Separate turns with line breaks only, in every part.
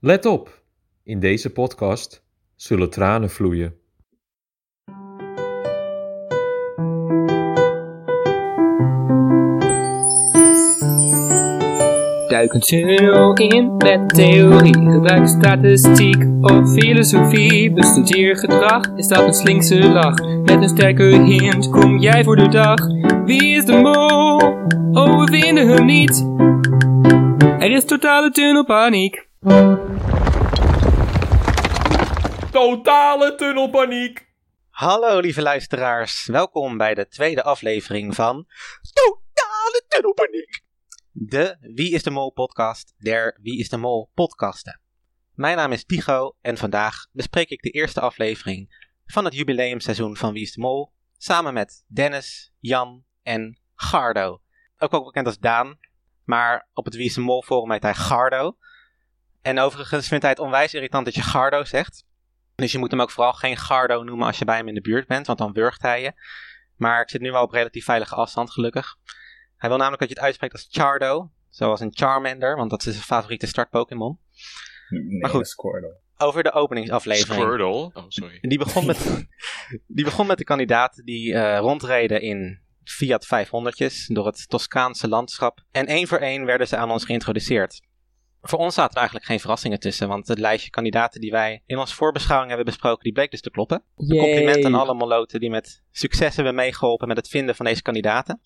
Let op, in deze podcast zullen tranen vloeien.
Duik een tunnel in met theorie. Gebruik statistiek of filosofie. Bestudeer gedrag, is dat een slinkse lach? Met een sterke hint kom jij voor de dag. Wie is de mol? Oh, we vinden hem niet. Er is totale tunnelpaniek.
Totale tunnelpaniek.
Hallo lieve luisteraars, welkom bij de tweede aflevering van Totale Tunnelpaniek. De Wie is de Mol podcast der Wie is de Mol podcasten. Mijn naam is Tigo en vandaag bespreek ik de eerste aflevering van het jubileumseizoen van Wie is de Mol samen met Dennis, Jan en Gardo. Ook ook bekend als Daan, maar op het Wie is de Mol forum heet hij Gardo. En overigens vindt hij het onwijs irritant dat je Gardo zegt. Dus je moet hem ook vooral geen Gardo noemen als je bij hem in de buurt bent, want dan wurgt hij je. Maar ik zit nu wel op relatief veilige afstand, gelukkig. Hij wil namelijk dat je het uitspreekt als Chardo, zoals een Charmander, want dat is zijn favoriete start-Pokémon.
Nee,
Maar goed.
dat is Squirtle.
Over de openingsaflevering.
Squirtle. Oh, sorry.
En Die begon met, die begon met de kandidaat die eh, rondreden in Fiat 500'tjes door het Toscaanse landschap. En één voor één werden ze aan ons geïntroduceerd. Voor ons zaten er eigenlijk geen verrassingen tussen, want het lijstje kandidaten die wij in onze voorbeschouwing hebben besproken, die bleek dus te kloppen. Compliment aan alle moloten die met succes hebben meegeholpen met het vinden van deze kandidaten.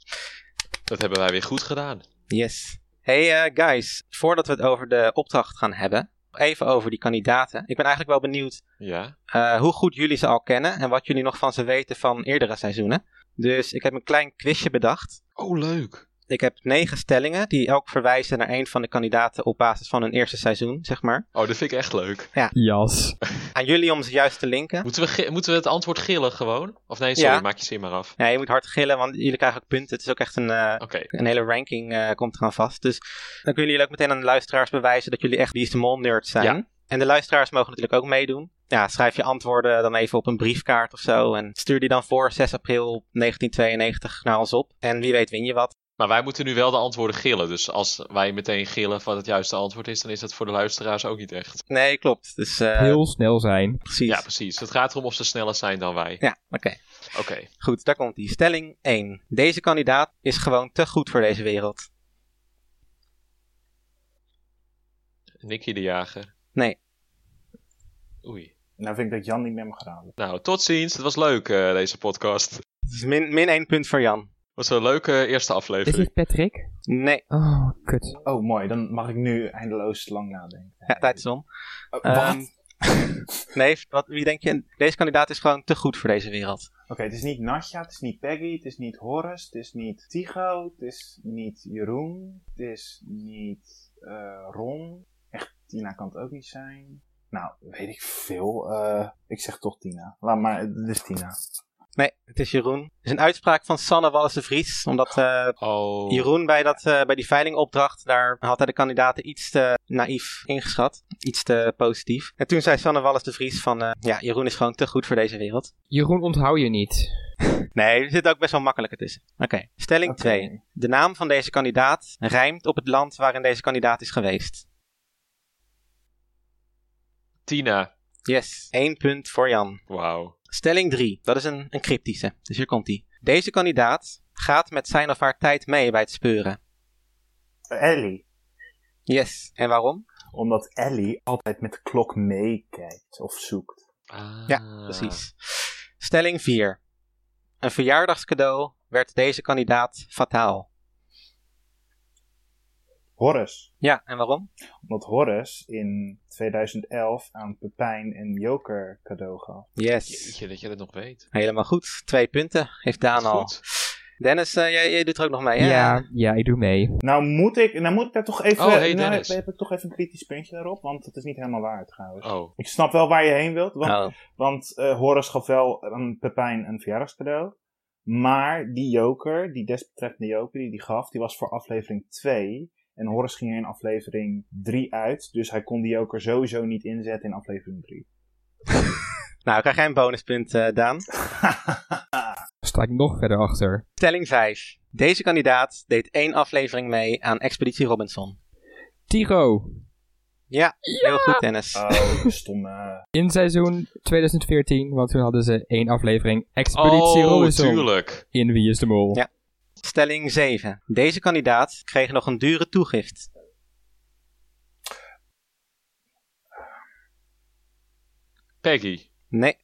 Dat hebben wij weer goed gedaan.
Yes. Hey eh, guys, voordat we het over de opdracht gaan hebben, even over die kandidaten. Ik ben eigenlijk wel benieuwd
Ja.
eh, hoe goed jullie ze al kennen en wat jullie nog van ze weten van eerdere seizoenen. Dus ik heb een klein quizje bedacht.
Oh, leuk.
Ik heb negen stellingen die elk verwijzen naar een van de kandidaten op basis van hun eerste seizoen, zeg maar.
Oh, dat vind ik echt leuk.
Jas.
Aan jullie om ze juist te linken.
Moeten we, gi- moeten we het antwoord gillen gewoon? Of nee, sorry,
Ja.
maak je zin maar af.
Ja, je moet hard gillen, want jullie krijgen ook punten. Het is ook echt een, eh,
Oké.
een hele ranking eh, komt eraan vast. Dus dan kunnen jullie ook meteen aan de luisteraars bewijzen dat jullie echt Wie is de Mol nerds zijn.
Ja.
En de luisteraars mogen natuurlijk ook meedoen. Ja, schrijf je antwoorden dan even op een briefkaart of zo. En stuur die dan voor 6 april 1992 naar ons op. En wie weet win je wat.
Maar wij moeten nu wel de antwoorden gillen. Dus als wij meteen gillen wat het juiste antwoord is, dan is dat voor de luisteraars ook niet echt.
Nee, klopt. Dus eh,
heel snel zijn.
precies.
Ja, precies. Het gaat erom of ze sneller zijn dan wij.
Ja, oké.
Oké.
Goed, daar komt die. Stelling 1. Deze kandidaat is gewoon te goed voor deze wereld.
Nicky de Jager.
Nee.
Oei.
Nou vind ik dat Jan niet meer mag raden.
Nou, tot ziens. Het was leuk, eh, deze podcast.
Dus min, min 1 punt voor Jan.
was een leuke eerste
Is
aflevering.
dit Patrick?
Nee,
Oh, kut.
Oh, mooi. Dan mag ik nu eindeloos lang nadenken.
ja, tijd is om.
Oh,
Ehm,
wat?
nee, wat, wie denk je? Deze kandidaat is gewoon te goed voor deze wereld.
Oké, het is niet Nasja, het is niet Peggy, het is niet Horus, het is niet Tigo, het is niet Jeroen, het is niet eh, Ron. Echt, Tina kan het ook niet zijn. Nou, weet ik veel. Eh, ik zeg toch Tina. Laat maar, het is Tina.
Nee, het is Jeroen. Het is een uitspraak van Sanne Wallis de Vries. Omdat eh,
Oh.
Jeroen bij, dat, eh, bij die veilingopdracht, daar had hij de kandidaten iets te naïef ingeschat. Iets te positief. En toen zei Sanne Wallis de Vries van, eh, ja, Jeroen is gewoon te goed voor deze wereld.
Jeroen onthoud je niet.
Nee, er zit ook best wel makkelijker tussen. Oké, stelling
Oké.
2. De naam van deze kandidaat rijmt op het land waarin deze kandidaat is geweest.
Tina.
Yes, één punt voor Jan.
Wauw.
Stelling 3, dat is een, een cryptische, dus hier komt die. Deze kandidaat gaat met zijn of haar tijd mee bij het speuren.
Ellie.
Yes, en waarom?
Omdat Ellie altijd met de klok meekijkt of zoekt.
Ja,
Ah.
Precies. Stelling 4. Een verjaardagscadeau werd deze kandidaat fataal.
Horus.
Ja, en waarom?
Omdat Horus in 2011 aan Pepijn een joker cadeau gaf.
Yes,
Jeetje, dat je dat nog weet.
helemaal goed. Twee punten heeft Daan al.
Goed.
Dennis, eh, jij, jij doet er ook nog mee,
Ja,
hè?
ja, ik doe mee.
Nou moet ik, nou moet ik daar toch even,
Oh, hey,
nou heb,
Dennis.
heb ik toch even een kritisch puntje daarop, want dat is niet helemaal waar trouwens.
Oh.
Ik snap wel waar je heen wilt, want,
Oh.
want eh, Horus gaf wel aan Pepijn een verjaardagscadeau. Maar die joker, die desbetreffende joker die die gaf, die was voor aflevering 2. En Horus ging er in aflevering 3 uit, dus hij kon die joker sowieso niet inzetten in aflevering 3.
Nou, krijg jij een bonuspunt, eh, Daan.
Sta ik nog verder achter.
Stelling 5. Deze kandidaat deed één aflevering mee aan Expeditie Robinson.
Tiro.
Ja, heel goed, Dennis.
Oh, stomme.
In seizoen 2014, want toen hadden ze één aflevering Expeditie
Oh,
Robinson
tuurlijk.
in Wie is de Mol.
Ja. Stelling 7. Deze kandidaat kreeg nog een dure toegift.
Peggy.
Nee.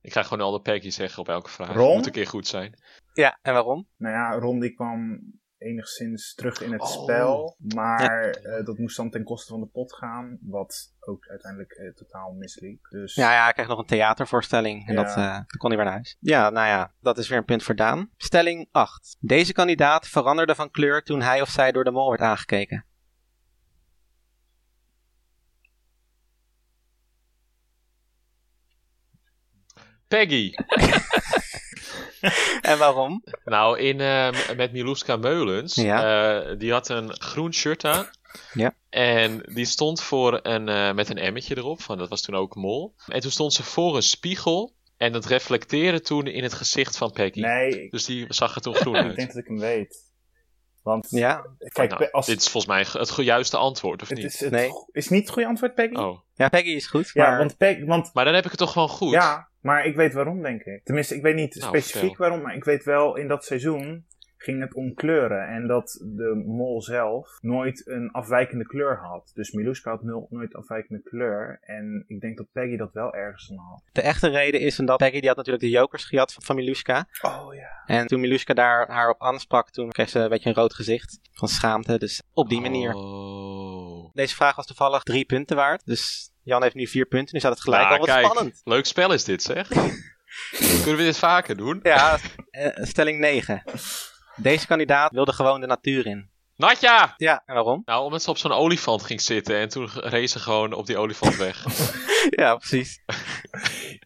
Ik ga gewoon al de Peggy zeggen op elke vraag.
Ron?
Moet een keer goed zijn.
Ja, en waarom?
Nou ja, Ron die kwam enigszins terug in het
Oh.
spel. Maar eh, dat moest dan ten koste van de pot gaan. Wat ook uiteindelijk eh, totaal misliep. Dus
Nou ja, hij kreeg nog een theatervoorstelling. En
Ja.
dat, eh, dat kon hij weer naar huis. Ja, nou ja, dat is weer een punt voor Daan. Stelling 8. Deze kandidaat veranderde van kleur toen hij of zij door de mol werd aangekeken.
Peggy.
En waarom?
Nou, in, eh, met Miluska Meulens.
Ja.
eh, die had een groen shirt aan.
Ja.
En die stond voor een, eh, met een emmetje erop. Van, dat was toen ook mol. En toen stond ze voor een spiegel. En dat reflecteerde toen in het gezicht van Peggy.
Nee, ik,
Dus die zag er toen groen
ik denk
uit.
dat ik hem weet. Want
Ja,
kijk,
Nou,
als,
Dit is volgens mij het ge- juiste antwoord, of
het
niet?
is, het
Nee.
go- is niet het goede antwoord, Peggy.
Oh.
ja Peggy is goed.
ja,
maar...
want, Peg, want
Maar dan heb ik het toch gewoon goed.
Ja, maar ik weet waarom, denk ik. Tenminste, ik weet niet
Nou,
specifiek
vertel.
waarom, maar ik weet wel, in dat seizoen ging het om kleuren. En dat de mol zelf nooit een afwijkende kleur had. Dus Miluska had nul- nooit afwijkende kleur. En ik denk dat Peggy dat wel ergens aan had.
De echte reden is omdat Peggy die had natuurlijk de jokers gejat van, van Miluska.
Oh ja.
En toen Miluska daar haar op aansprak, toen kreeg ze een beetje een rood gezicht van schaamte. Dus op die manier.
Oh.
Deze vraag was toevallig drie punten waard. Dus Jan heeft nu vier punten. Nu staat het gelijk
Nou,
al wat
kijk,
spannend.
Leuk spel is dit, zeg. Kunnen we dit vaker doen?
Ja, eh, stelling 9. Deze kandidaat wilde gewoon de natuur in.
Natja!
Ja, en waarom?
Nou, omdat ze op zo'n olifant ging zitten en toen race ze gewoon op die olifant weg.
Ja, precies.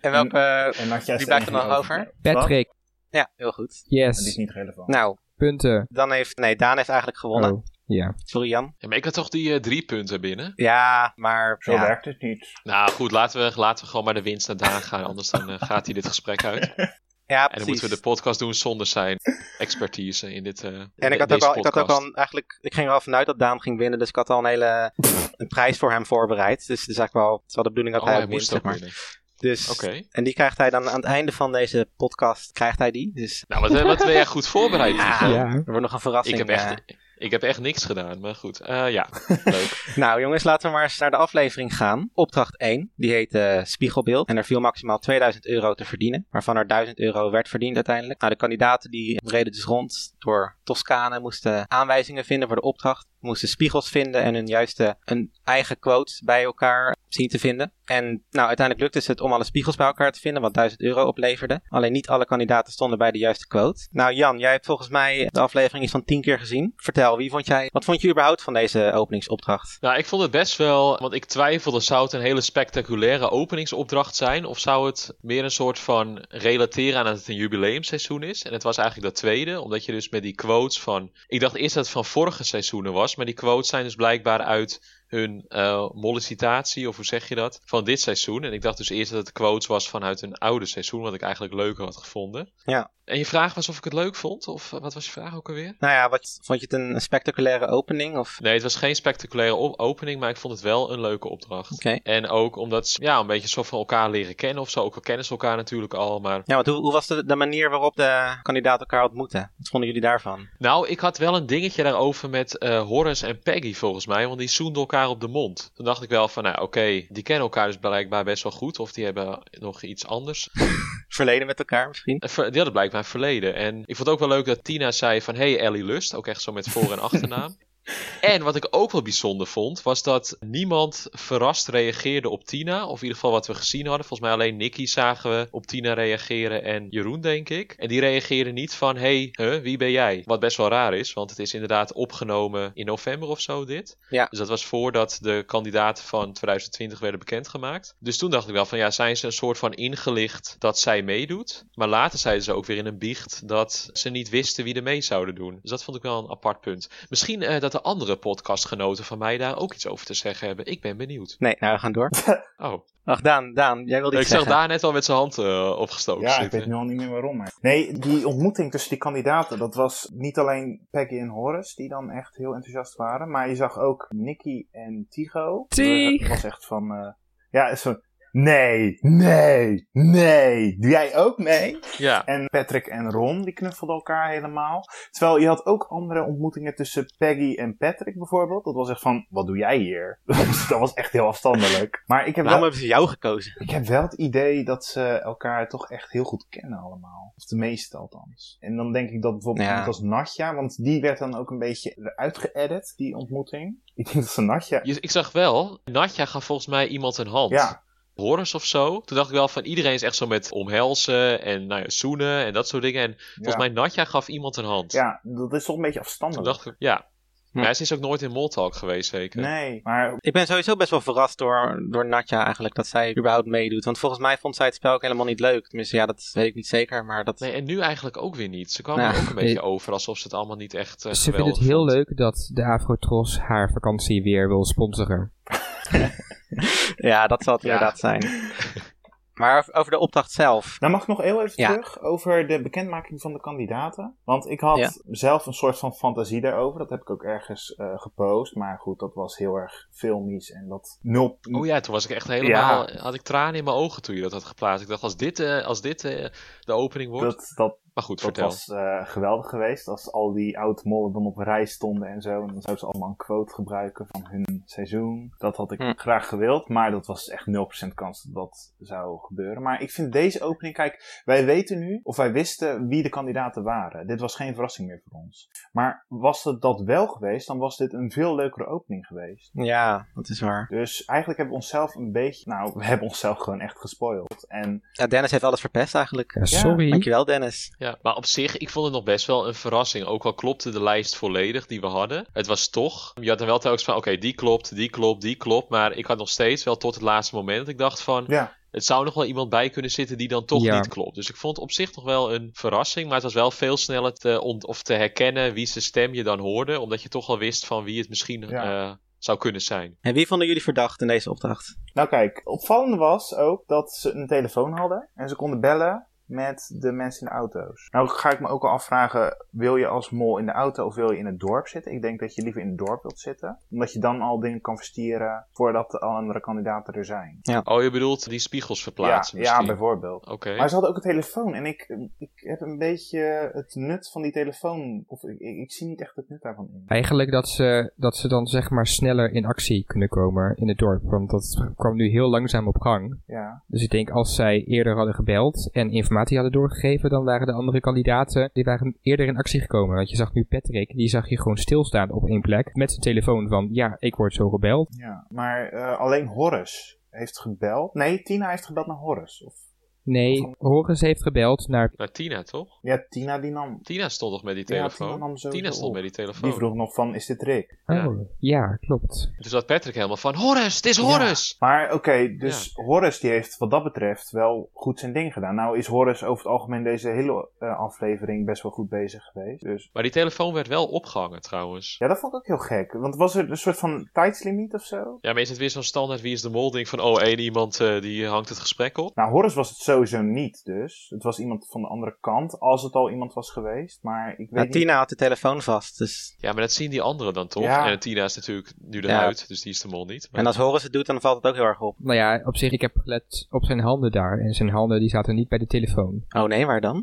en welke...
En had jij
Wie
ze
blijft er
nog
nog over?
Patrick,
Ja, heel goed.
Dat is
yes,
niet relevant.
Nou,
punten.
dan heeft... Nee, Daan heeft eigenlijk gewonnen.
Oh, ja.
Sorry, Jan.
Ja, maar ik had toch die eh, drie punten binnen?
Ja, maar...
Zo
ja.
werkt het niet.
Nou goed, laten we, laten we gewoon maar de winst naar Daan gaan, anders dan eh, gaat hij dit gesprek uit. En
Ja,
dan
precies.
moeten we de podcast doen zonder zijn expertise in dit eh
En ik had, ook
deze
al, ik had ook
podcast.
al een- eigenlijk, ik ging er al vanuit dat Daan ging winnen, dus ik had al een hele een prijs voor hem voorbereid. Dus het is eigenlijk wel, het is wel de bedoeling dat
Oh,
hij
hij
ook wint,
moest
zeg
ook
maar.
winnen.
Dus,
Oké.
En die krijgt hij dan aan het einde van deze podcast, krijgt hij die. Dus
Nou, wat, eh, wat ben jij goed voorbereid? Nico?
ja.
er wordt nog een verrassing.
Ik heb,
eh.
echt, ik heb echt niks gedaan, maar goed. Eh, ja, leuk.
Nou jongens, laten we maar eens naar de aflevering gaan. Opdracht 1, die heet eh, Spiegelbeeld. En er viel maximaal 2000 euro te verdienen, waarvan er 1000 euro werd verdiend uiteindelijk. Nou, de kandidaten die reden dus rond door Toscane, moesten aanwijzingen vinden voor de opdracht. Moesten spiegels vinden en hun juiste een eigen quote bij elkaar zien te vinden. En nou, uiteindelijk lukte ze het om alle spiegels bij elkaar te vinden, wat 1000 euro opleverde. Alleen niet alle kandidaten stonden bij de juiste quote. Nou Jan, jij hebt volgens mij de aflevering iets van 10 keer gezien. Vertel, wie vond jij, wat vond je überhaupt van deze openingsopdracht?
Nou, ik vond het best wel, want ik twijfelde, zou het een hele spectaculaire openingsopdracht zijn? Of zou het meer een soort van relateren aan dat het een jubileumseizoen is? En het was eigenlijk dat tweede, omdat je dus met die quotes van... Ik dacht eerst dat het van vorige seizoenen was, maar die quotes zijn dus blijkbaar uit hun eh mollicitatie, of hoe zeg je dat, van dit seizoen. En ik dacht dus eerst dat het quotes was vanuit een oude seizoen, wat ik eigenlijk leuker had gevonden.
Ja.
En je vraag was of ik het leuk vond, of eh, wat was je vraag ook alweer?
Nou ja, wat, vond je het een, een spectaculaire opening? Of...
Nee, het was geen spectaculaire op- opening, maar ik vond het wel een leuke opdracht.
Oké.
En ook omdat ze ja, een beetje zo van elkaar leren kennen of zo. Ook al kennen ze elkaar natuurlijk al. Maar
Ja, want hoe, hoe was de, de manier waarop de kandidaten elkaar ontmoeten? Wat vonden jullie daarvan?
nou, ik had wel een dingetje daarover met eh Horace en Peggy volgens mij. Want die zoenden elkaar op de mond. Toen dacht ik wel van, nou oké, die kennen elkaar dus blijkbaar best wel goed. Of die hebben nog iets anders.
Verleden met elkaar misschien?
Eh, ver- Die hadden blijkbaar een verleden. En ik vond het ook wel leuk dat Tina zei van, hey Ellie Lust. Ook echt zo met voor- en achternaam. En wat ik ook wel bijzonder vond, was dat niemand verrast reageerde op Tina. Of in ieder geval wat we gezien hadden. Volgens mij alleen Nicky zagen we op Tina reageren en Jeroen, denk ik. En die reageerde niet van, hey, huh, wie ben jij? Wat best wel raar is, want het is inderdaad opgenomen in november of zo dit.
Ja.
Dus dat was voordat de kandidaten van 2020 werden bekendgemaakt. Dus toen dacht ik wel van, ja, zijn ze een soort van ingelicht dat zij meedoet? Maar later zeiden ze ook weer in een biecht dat ze niet wisten wie er mee zouden doen. Dus dat vond ik wel een apart punt. Misschien eh, dat de andere podcastgenoten van mij daar ook iets over te zeggen hebben. Ik ben benieuwd.
Nee, nou, we gaan door.
Oh,
Ach, Daan, Daan, jij wilde
ik
iets
zag
zeggen.
daar net al met zijn hand eh, opgestoken
Ja, ik
zitten.
weet nu al niet meer waarom. Maar... Nee, die ontmoeting tussen die kandidaten, dat was niet alleen Peggy en Horace die dan echt heel enthousiast waren, maar je zag ook Nicky en Tigo.
Tig.
Dat was echt van, eh, ja, zo, nee, nee, nee, doe jij ook mee?
Ja,
En Patrick en Ron, die knuffelden elkaar helemaal. Terwijl je had ook andere ontmoetingen tussen Peggy en Patrick bijvoorbeeld. Dat was echt van, wat doe jij hier? dat was echt heel afstandelijk. Maar ik heb wel
Waarom hebben ze jou gekozen?
ik heb wel het idee dat ze elkaar toch echt heel goed kennen allemaal. Of de meeste althans. En dan denk ik dat bijvoorbeeld
Ja.
iemand als Natja, want die werd dan ook een beetje eruit geëdit, die ontmoeting. Ik denk dat ze Natja...
je- ik zag wel, Natja gaf volgens mij iemand een hand.
Ja,
Horus of zo. Toen dacht ik wel van iedereen is echt zo met omhelzen en nou ja, zoenen en dat soort dingen. En volgens
ja.
mij Natja gaf iemand een hand.
ja, dat is toch een beetje
Toen
afstandelijk.
dacht ik, ja.
Hm.
Maar ze is ook nooit in Moltalk geweest, zeker.
Nee, maar
Ik ben sowieso best wel verrast door, door Natja eigenlijk, dat zij überhaupt meedoet. Want volgens mij vond zij het spel ook helemaal niet leuk. Tenminste, ja, dat weet ik niet zeker, maar dat...
Nee, en nu eigenlijk ook weer niet. Ze kwam
Ja.
er ook een
Nou, Nee.
beetje over alsof ze het allemaal niet echt. eh,
Ze vindt het
geweldig
heel
vond.
leuk dat de Avrotros haar vakantie weer wil sponsoren.
Ja, dat zal het
Ja.
inderdaad zijn. Maar over- over de opdracht zelf.
nou mag ik nog heel even
Ja.
terug over de bekendmaking van de kandidaten. Want ik had
Ja.
zelf een soort van fantasie daarover. Dat heb ik ook ergens eh, gepost. Maar goed, dat was heel erg filmisch en dat nul,
Oh ja, toen was ik echt helemaal. Had ik tranen in mijn ogen toen je dat had geplaatst. Ik dacht, als dit, eh, als dit eh, de opening wordt.
dat, dat
maar goed,
Dat
vertel.
was eh, geweldig geweest als al die oud-mollen dan op een rij stonden en zo. En dan zouden ze allemaal een quote gebruiken van hun seizoen. Dat had ik
Hm.
graag gewild, maar dat was echt 0% kans dat dat zou gebeuren. Maar ik vind deze opening, kijk, wij weten nu, of wij wisten wie de kandidaten waren. Dit was geen verrassing meer voor ons. Maar was het dat wel geweest, dan was dit een veel leukere opening geweest.
Ja, dat is waar.
Dus eigenlijk hebben we onszelf een beetje, nou, we hebben onszelf gewoon echt gespoild. En
Ja, Dennis heeft alles verpest eigenlijk.
Ja, sorry.
Dankjewel, Dennis.
Ja, maar op zich, ik vond het nog best wel een verrassing. Ook al klopte de lijst volledig die we hadden. Het was toch. Je had dan wel telkens van: oké, die klopt, die klopt, die klopt. Maar ik had nog steeds wel tot het laatste moment. dat Ik dacht van.
ja,
Het zou nog wel iemand bij kunnen zitten die dan toch
Ja.
niet klopt. Dus ik vond het op zich nog wel een verrassing. Maar het was wel veel sneller te, ont- of te herkennen wie zijn stem je dan hoorde. Omdat je toch al wist van wie het misschien
Ja.
eh, zou kunnen zijn.
En wie vonden jullie verdacht in deze opdracht?
Nou kijk, opvallend was ook dat ze een telefoon hadden en ze konden bellen met de mensen in de auto's. Nou ga ik me ook al afvragen, wil je als mol in de auto of wil je in het dorp zitten? Ik denk dat je liever in het dorp wilt zitten, omdat je dan al dingen kan verstieren voordat de andere kandidaten er zijn.
Oh, je bedoelt die spiegels verplaatsen
ja, ja,
misschien?
bijvoorbeeld.
Oké.
Maar ze hadden ook een telefoon en ik, ik heb een beetje het nut van die telefoon, of ik, ik, ik zie niet echt het nut daarvan in.
Eigenlijk dat ze, dat ze dan zeg maar sneller in actie kunnen komen in het dorp. Want dat kwam nu heel langzaam op gang.
Ja,
Dus ik denk als zij eerder hadden gebeld en informatie hadden doorgegeven, dan waren de andere kandidaten, die waren eerder in actie gekomen. Want je zag nu Patrick, die zag je gewoon stilstaan op één plek met zijn telefoon van, ja, ik word zo gebeld.
ja. maar eh, alleen Horace heeft gebeld. Nee, Tina heeft gebeld naar Horace. Of,
Nee, Horus heeft gebeld naar,
Naar Nou, Tina, toch?
ja, Tina die nam
Tina stond nog met die
Ja,
telefoon?
Tina nam sowieso
stond
op.
met die telefoon.
Die vroeg nog van, is dit Rick?
Ja.
oh, ja, klopt.
Toen zat Patrick helemaal van, Horus, het is Horus!
Maar oké, dus Horace die heeft wat dat betreft wel goed zijn ding gedaan. Nou is Horace over het algemeen deze hele eh, aflevering best wel goed bezig geweest. Dus
Maar die telefoon werd wel opgehangen trouwens.
ja, dat vond ik ook heel gek. Want was er een soort van tijdslimiet of zo?
Ja, maar is het weer zo'n standaard wie is de mol ding van, oh, één iemand eh, die hangt het gesprek op?
Nou, Horace was het sowieso niet dus. Het was iemand van de andere kant, als het al iemand was geweest. Maar ik
Nou,
weet niet...
Tina had de telefoon vast. Dus...
Ja, maar dat zien die anderen dan toch?
Ja.
En Tina is natuurlijk nu
Ja.
eruit, dus die is de mol niet. Maar-
En als Horus het doet, dan valt het ook heel erg op.
Nou ja, op zich, ik heb gelet op zijn handen daar. En zijn handen, die zaten niet bij de telefoon.
Oh nee, waar dan?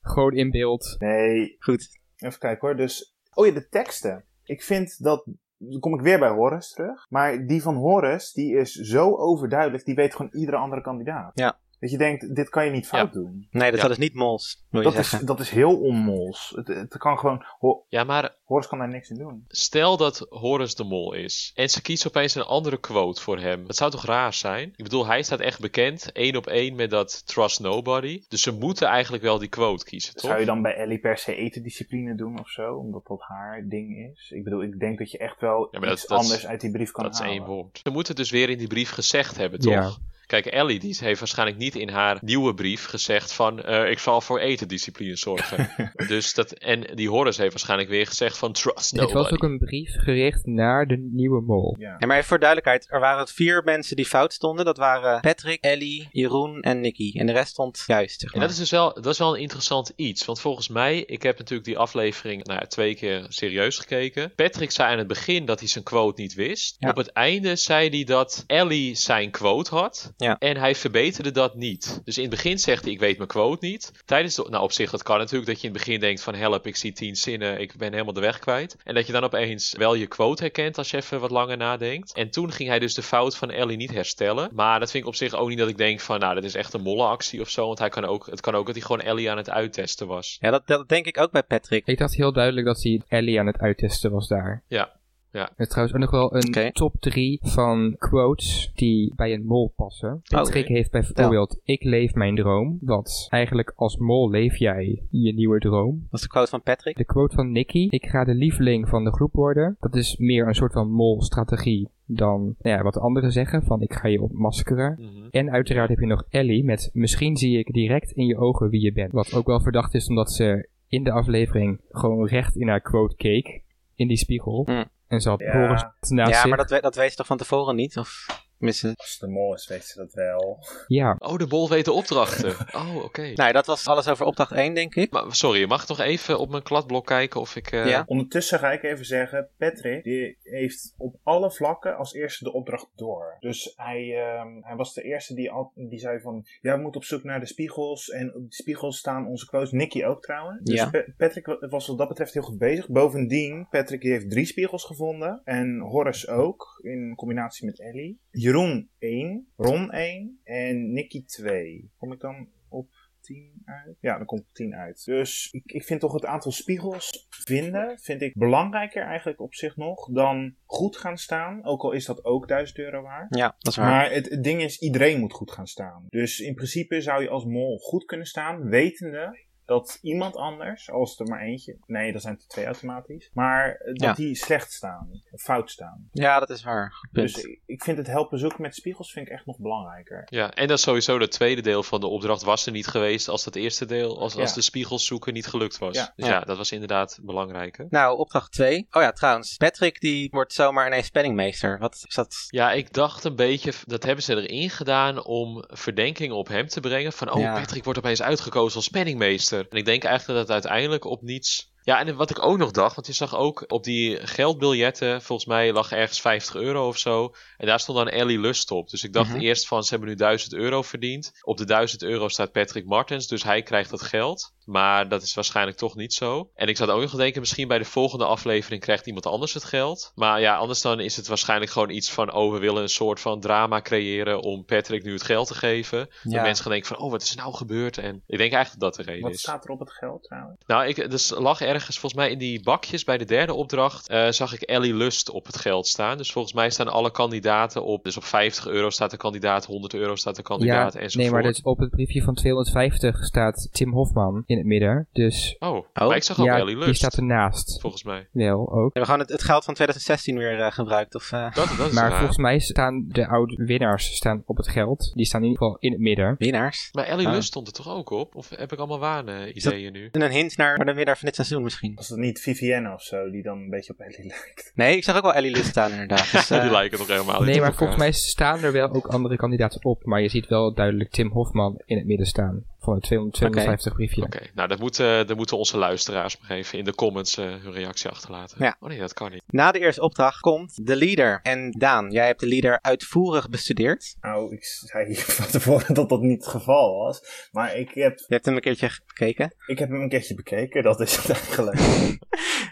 Gewoon in beeld.
Nee,
Goed.
Even kijken hoor. Dus, oh ja, de teksten. Ik vind dat, dan kom ik weer bij Horace terug. Maar die van Horace, die is zo overduidelijk. Die weet gewoon iedere andere kandidaat.
Ja.
Dat je denkt, dit kan je niet fout doen.
Nee, dat
Ja.
is dus niet mols, wil je
Dat is,
zeggen.
dat is heel onmols. Het, het kan gewoon, Ho-
Ja, maar
Horace kan daar niks in doen.
stel dat Horus de mol is. En ze kiest opeens een andere quote voor hem. Dat zou toch raar zijn? Ik bedoel, hij staat echt bekend, één op één met dat Trust Nobody. Dus ze moeten eigenlijk wel die quote kiezen, toch?
Zou je dan bij Ellie per se etendiscipline doen of zo? Omdat dat haar ding is. Ik bedoel, ik denk dat je echt wel
Ja, maar dat-
iets
dat is-
anders uit die brief kan
dat is
halen.
één woord. Ze moeten het dus weer in die brief gezegd hebben, toch?
Ja.
Kijk, Ellie die heeft waarschijnlijk niet in haar nieuwe brief gezegd van... eh, ik zal voor etendiscipline zorgen. dus dat, en die Horace heeft waarschijnlijk weer gezegd van... Trust
Het
nobody.
was ook een brief gericht naar de nieuwe mol.
Ja.
En maar even voor duidelijkheid, er waren vier mensen die fout stonden. Dat waren Patrick, Ellie, Jeroen en Nicky. En de rest stond juist, zeg
En
maar.
dat is dus wel, dat is wel een interessant iets. Want volgens mij, ik heb natuurlijk die aflevering nou, ja, twee keer serieus gekeken. Patrick zei aan het begin dat hij zijn quote niet wist.
Ja.
Op het einde zei hij dat Ellie zijn quote had.
Ja.
En hij verbeterde dat niet. Dus in het begin zegt hij, ik weet mijn quote niet. Tijdens de, nou op zich, dat kan natuurlijk. Dat je in het begin denkt van, help, ik zie tien zinnen. Ik ben helemaal de weg kwijt. En dat je dan opeens wel je quote herkent als je even wat langer nadenkt. En toen ging hij dus de fout van Ellie niet herstellen. Maar dat vind ik op zich ook niet dat ik denk van, nou, dat is echt een molle actie of zo. Want hij kan ook, het kan ook dat hij gewoon Ellie aan het uittesten was.
Ja, dat, dat denk ik ook bij Patrick.
Ik dacht heel duidelijk dat hij Ellie aan het uittesten was daar.
Ja, ja.
Het is trouwens ook nog wel een
Oké.
top 3 van quotes die bij een mol passen. Patrick
oké.
heeft bijvoorbeeld Ik leef mijn droom. Want eigenlijk als mol leef jij je nieuwe droom.
Dat is de quote van Patrick.
De quote van Nicky. Ik ga de lieveling van de groep worden. Dat is meer een soort van mol-strategie dan nou ja, wat de anderen zeggen. Van ik ga je ontmaskeren.
Mhm.
En uiteraard heb je nog Ellie met misschien zie ik direct in je ogen wie je bent. Wat ook wel verdacht is omdat ze in de aflevering gewoon recht in haar quote keek. In die spiegel.
Hm.
En ze had
Ja.
Boris naast
ja,
zich.
maar dat, we- dat wees toch van tevoren niet? Of missen?
Als de mol is, weet ze dat wel.
Ja,
Oh, de bol weet de opdrachten. Oh, oké.
Nou, dat was alles over opdracht 1, denk ik.
Maar, sorry, mag ik nog even op mijn kladblok kijken of ik... eh,
Ja.
Ondertussen ga ik even zeggen, Patrick die heeft op alle vlakken als eerste de opdracht door. Dus hij, ehm, hij was de eerste die, al, die zei van, ja, we moeten op zoek naar de spiegels. En op de spiegels staan onze quotes, Nicky ook trouwens. Dus
Ja.
Pa- Patrick wa- was wat dat betreft heel goed bezig. Bovendien, Patrick die heeft drie spiegels gevonden. En Horace ook, in combinatie met Ellie. Jeroen 1, Ron 1 en Nicky 2. Kom ik dan op 10 uit? Ja, dan komt 10 uit. Dus ik, ik vind toch het aantal spiegels vinden, vind ik belangrijker eigenlijk op zich nog dan goed gaan staan. Ook al is dat ook 1000 euro waard.
Ja, dat is waar.
Maar het, het ding is, iedereen moet goed gaan staan. Dus in principe zou je als mol goed kunnen staan, wetende dat iemand anders, als er maar eentje, nee, dat zijn er twee automatisch, maar eh, dat
Ja.
die slecht staan, of fout staan.
Ja, dat is waar. Goed punt.
Dus ik- ik vind het helpen zoeken met spiegels vind ik echt nog belangrijker.
Ja, en dat sowieso dat tweede deel van de opdracht was er niet geweest als dat eerste deel, als, als
Ja.
de spiegels zoeken niet gelukt was.
Ja.
dus ja, dat was inderdaad belangrijk. Hè?
Nou, opdracht 2. Oh ja, trouwens, Patrick die wordt zomaar ineens spellingmeester. Wat is dat?
Ja, ik dacht een beetje, dat hebben ze erin gedaan om verdenkingen op hem te brengen. Van, oh,
Ja.
Patrick wordt opeens uitgekozen als spanningmeester. En ik denk eigenlijk dat het uiteindelijk op niets... Ja, en wat ik ook nog dacht, want je zag ook op die geldbiljetten, volgens mij lag ergens 50 euro of zo. En daar stond dan Ellie Lust op. Dus ik dacht
Mhm.
eerst van, ze hebben nu 1000 euro verdiend. Op de 1000 euro staat Patrick Martens, dus hij krijgt dat geld. Maar dat is waarschijnlijk toch niet zo. En ik zat ook nog te denken, misschien bij de volgende aflevering krijgt iemand anders het geld. Maar ja, anders dan is het waarschijnlijk gewoon iets van, oh, we willen een soort van drama creëren om Patrick nu het geld te geven. Dat
Ja.
mensen gaan denken van, oh, wat is er nou gebeurd? En ik denk eigenlijk dat dat de reden
Wat
is.
staat er op het geld trouwens?
Nou, ik dus lag ergens volgens mij in die bakjes bij de derde opdracht. eh, zag ik Ellie Lust op het geld staan. Dus volgens mij staan alle kandidaten op. Dus op 50 euro staat de kandidaat, 100 euro staat de
ja
kandidaat en zo.
nee, maar dus op het briefje van 250 staat Tim Hofman in het midden. Dus
Oh, maar ik zag ook
ja,
Ellie
die
Lust.
staat ernaast.
Volgens mij.
Wel ook.
Hebben we gewoon het, het geld van 2016 weer eh, gebruikt? Of, eh,
Dat, dat is
Maar
raar.
volgens mij staan de oud-winnaars staan op het geld. Die staan in ieder geval in het
Oh,
midden.
winnaars?
Maar Ellie
Ah.
Lust stond er toch ook op? Of heb ik allemaal
dat-
waanideeën nu?
En een hint naar de winnaar van dit seizoen misschien.
Was dat niet Vivienne of zo, die dan een beetje op Ellie lijkt?
Nee, ik zag ook wel Ellie Lust staan inderdaad. Dus, eh,
Die lijken nog helemaal niet
Nee,
op
maar
elkaar.
volgens mij staan er wel ook andere kandidaten op. Maar je ziet wel duidelijk Tim Hofman in het midden staan. Van het 200 250 briefje.
Oké, nou dat moeten, dat moeten onze luisteraars maar even in de comments eh, hun reactie achterlaten.
Ja.
Oh nee, dat kan niet.
Na de eerste opdracht komt de leader. En Daan, jij hebt de leader uitvoerig bestudeerd.
Nou, ik zei van tevoren dat dat niet het geval was. Maar ik heb,
Je hebt hem een keertje gekeken.
ik heb hem een keertje bekeken, dat is het eigenlijk.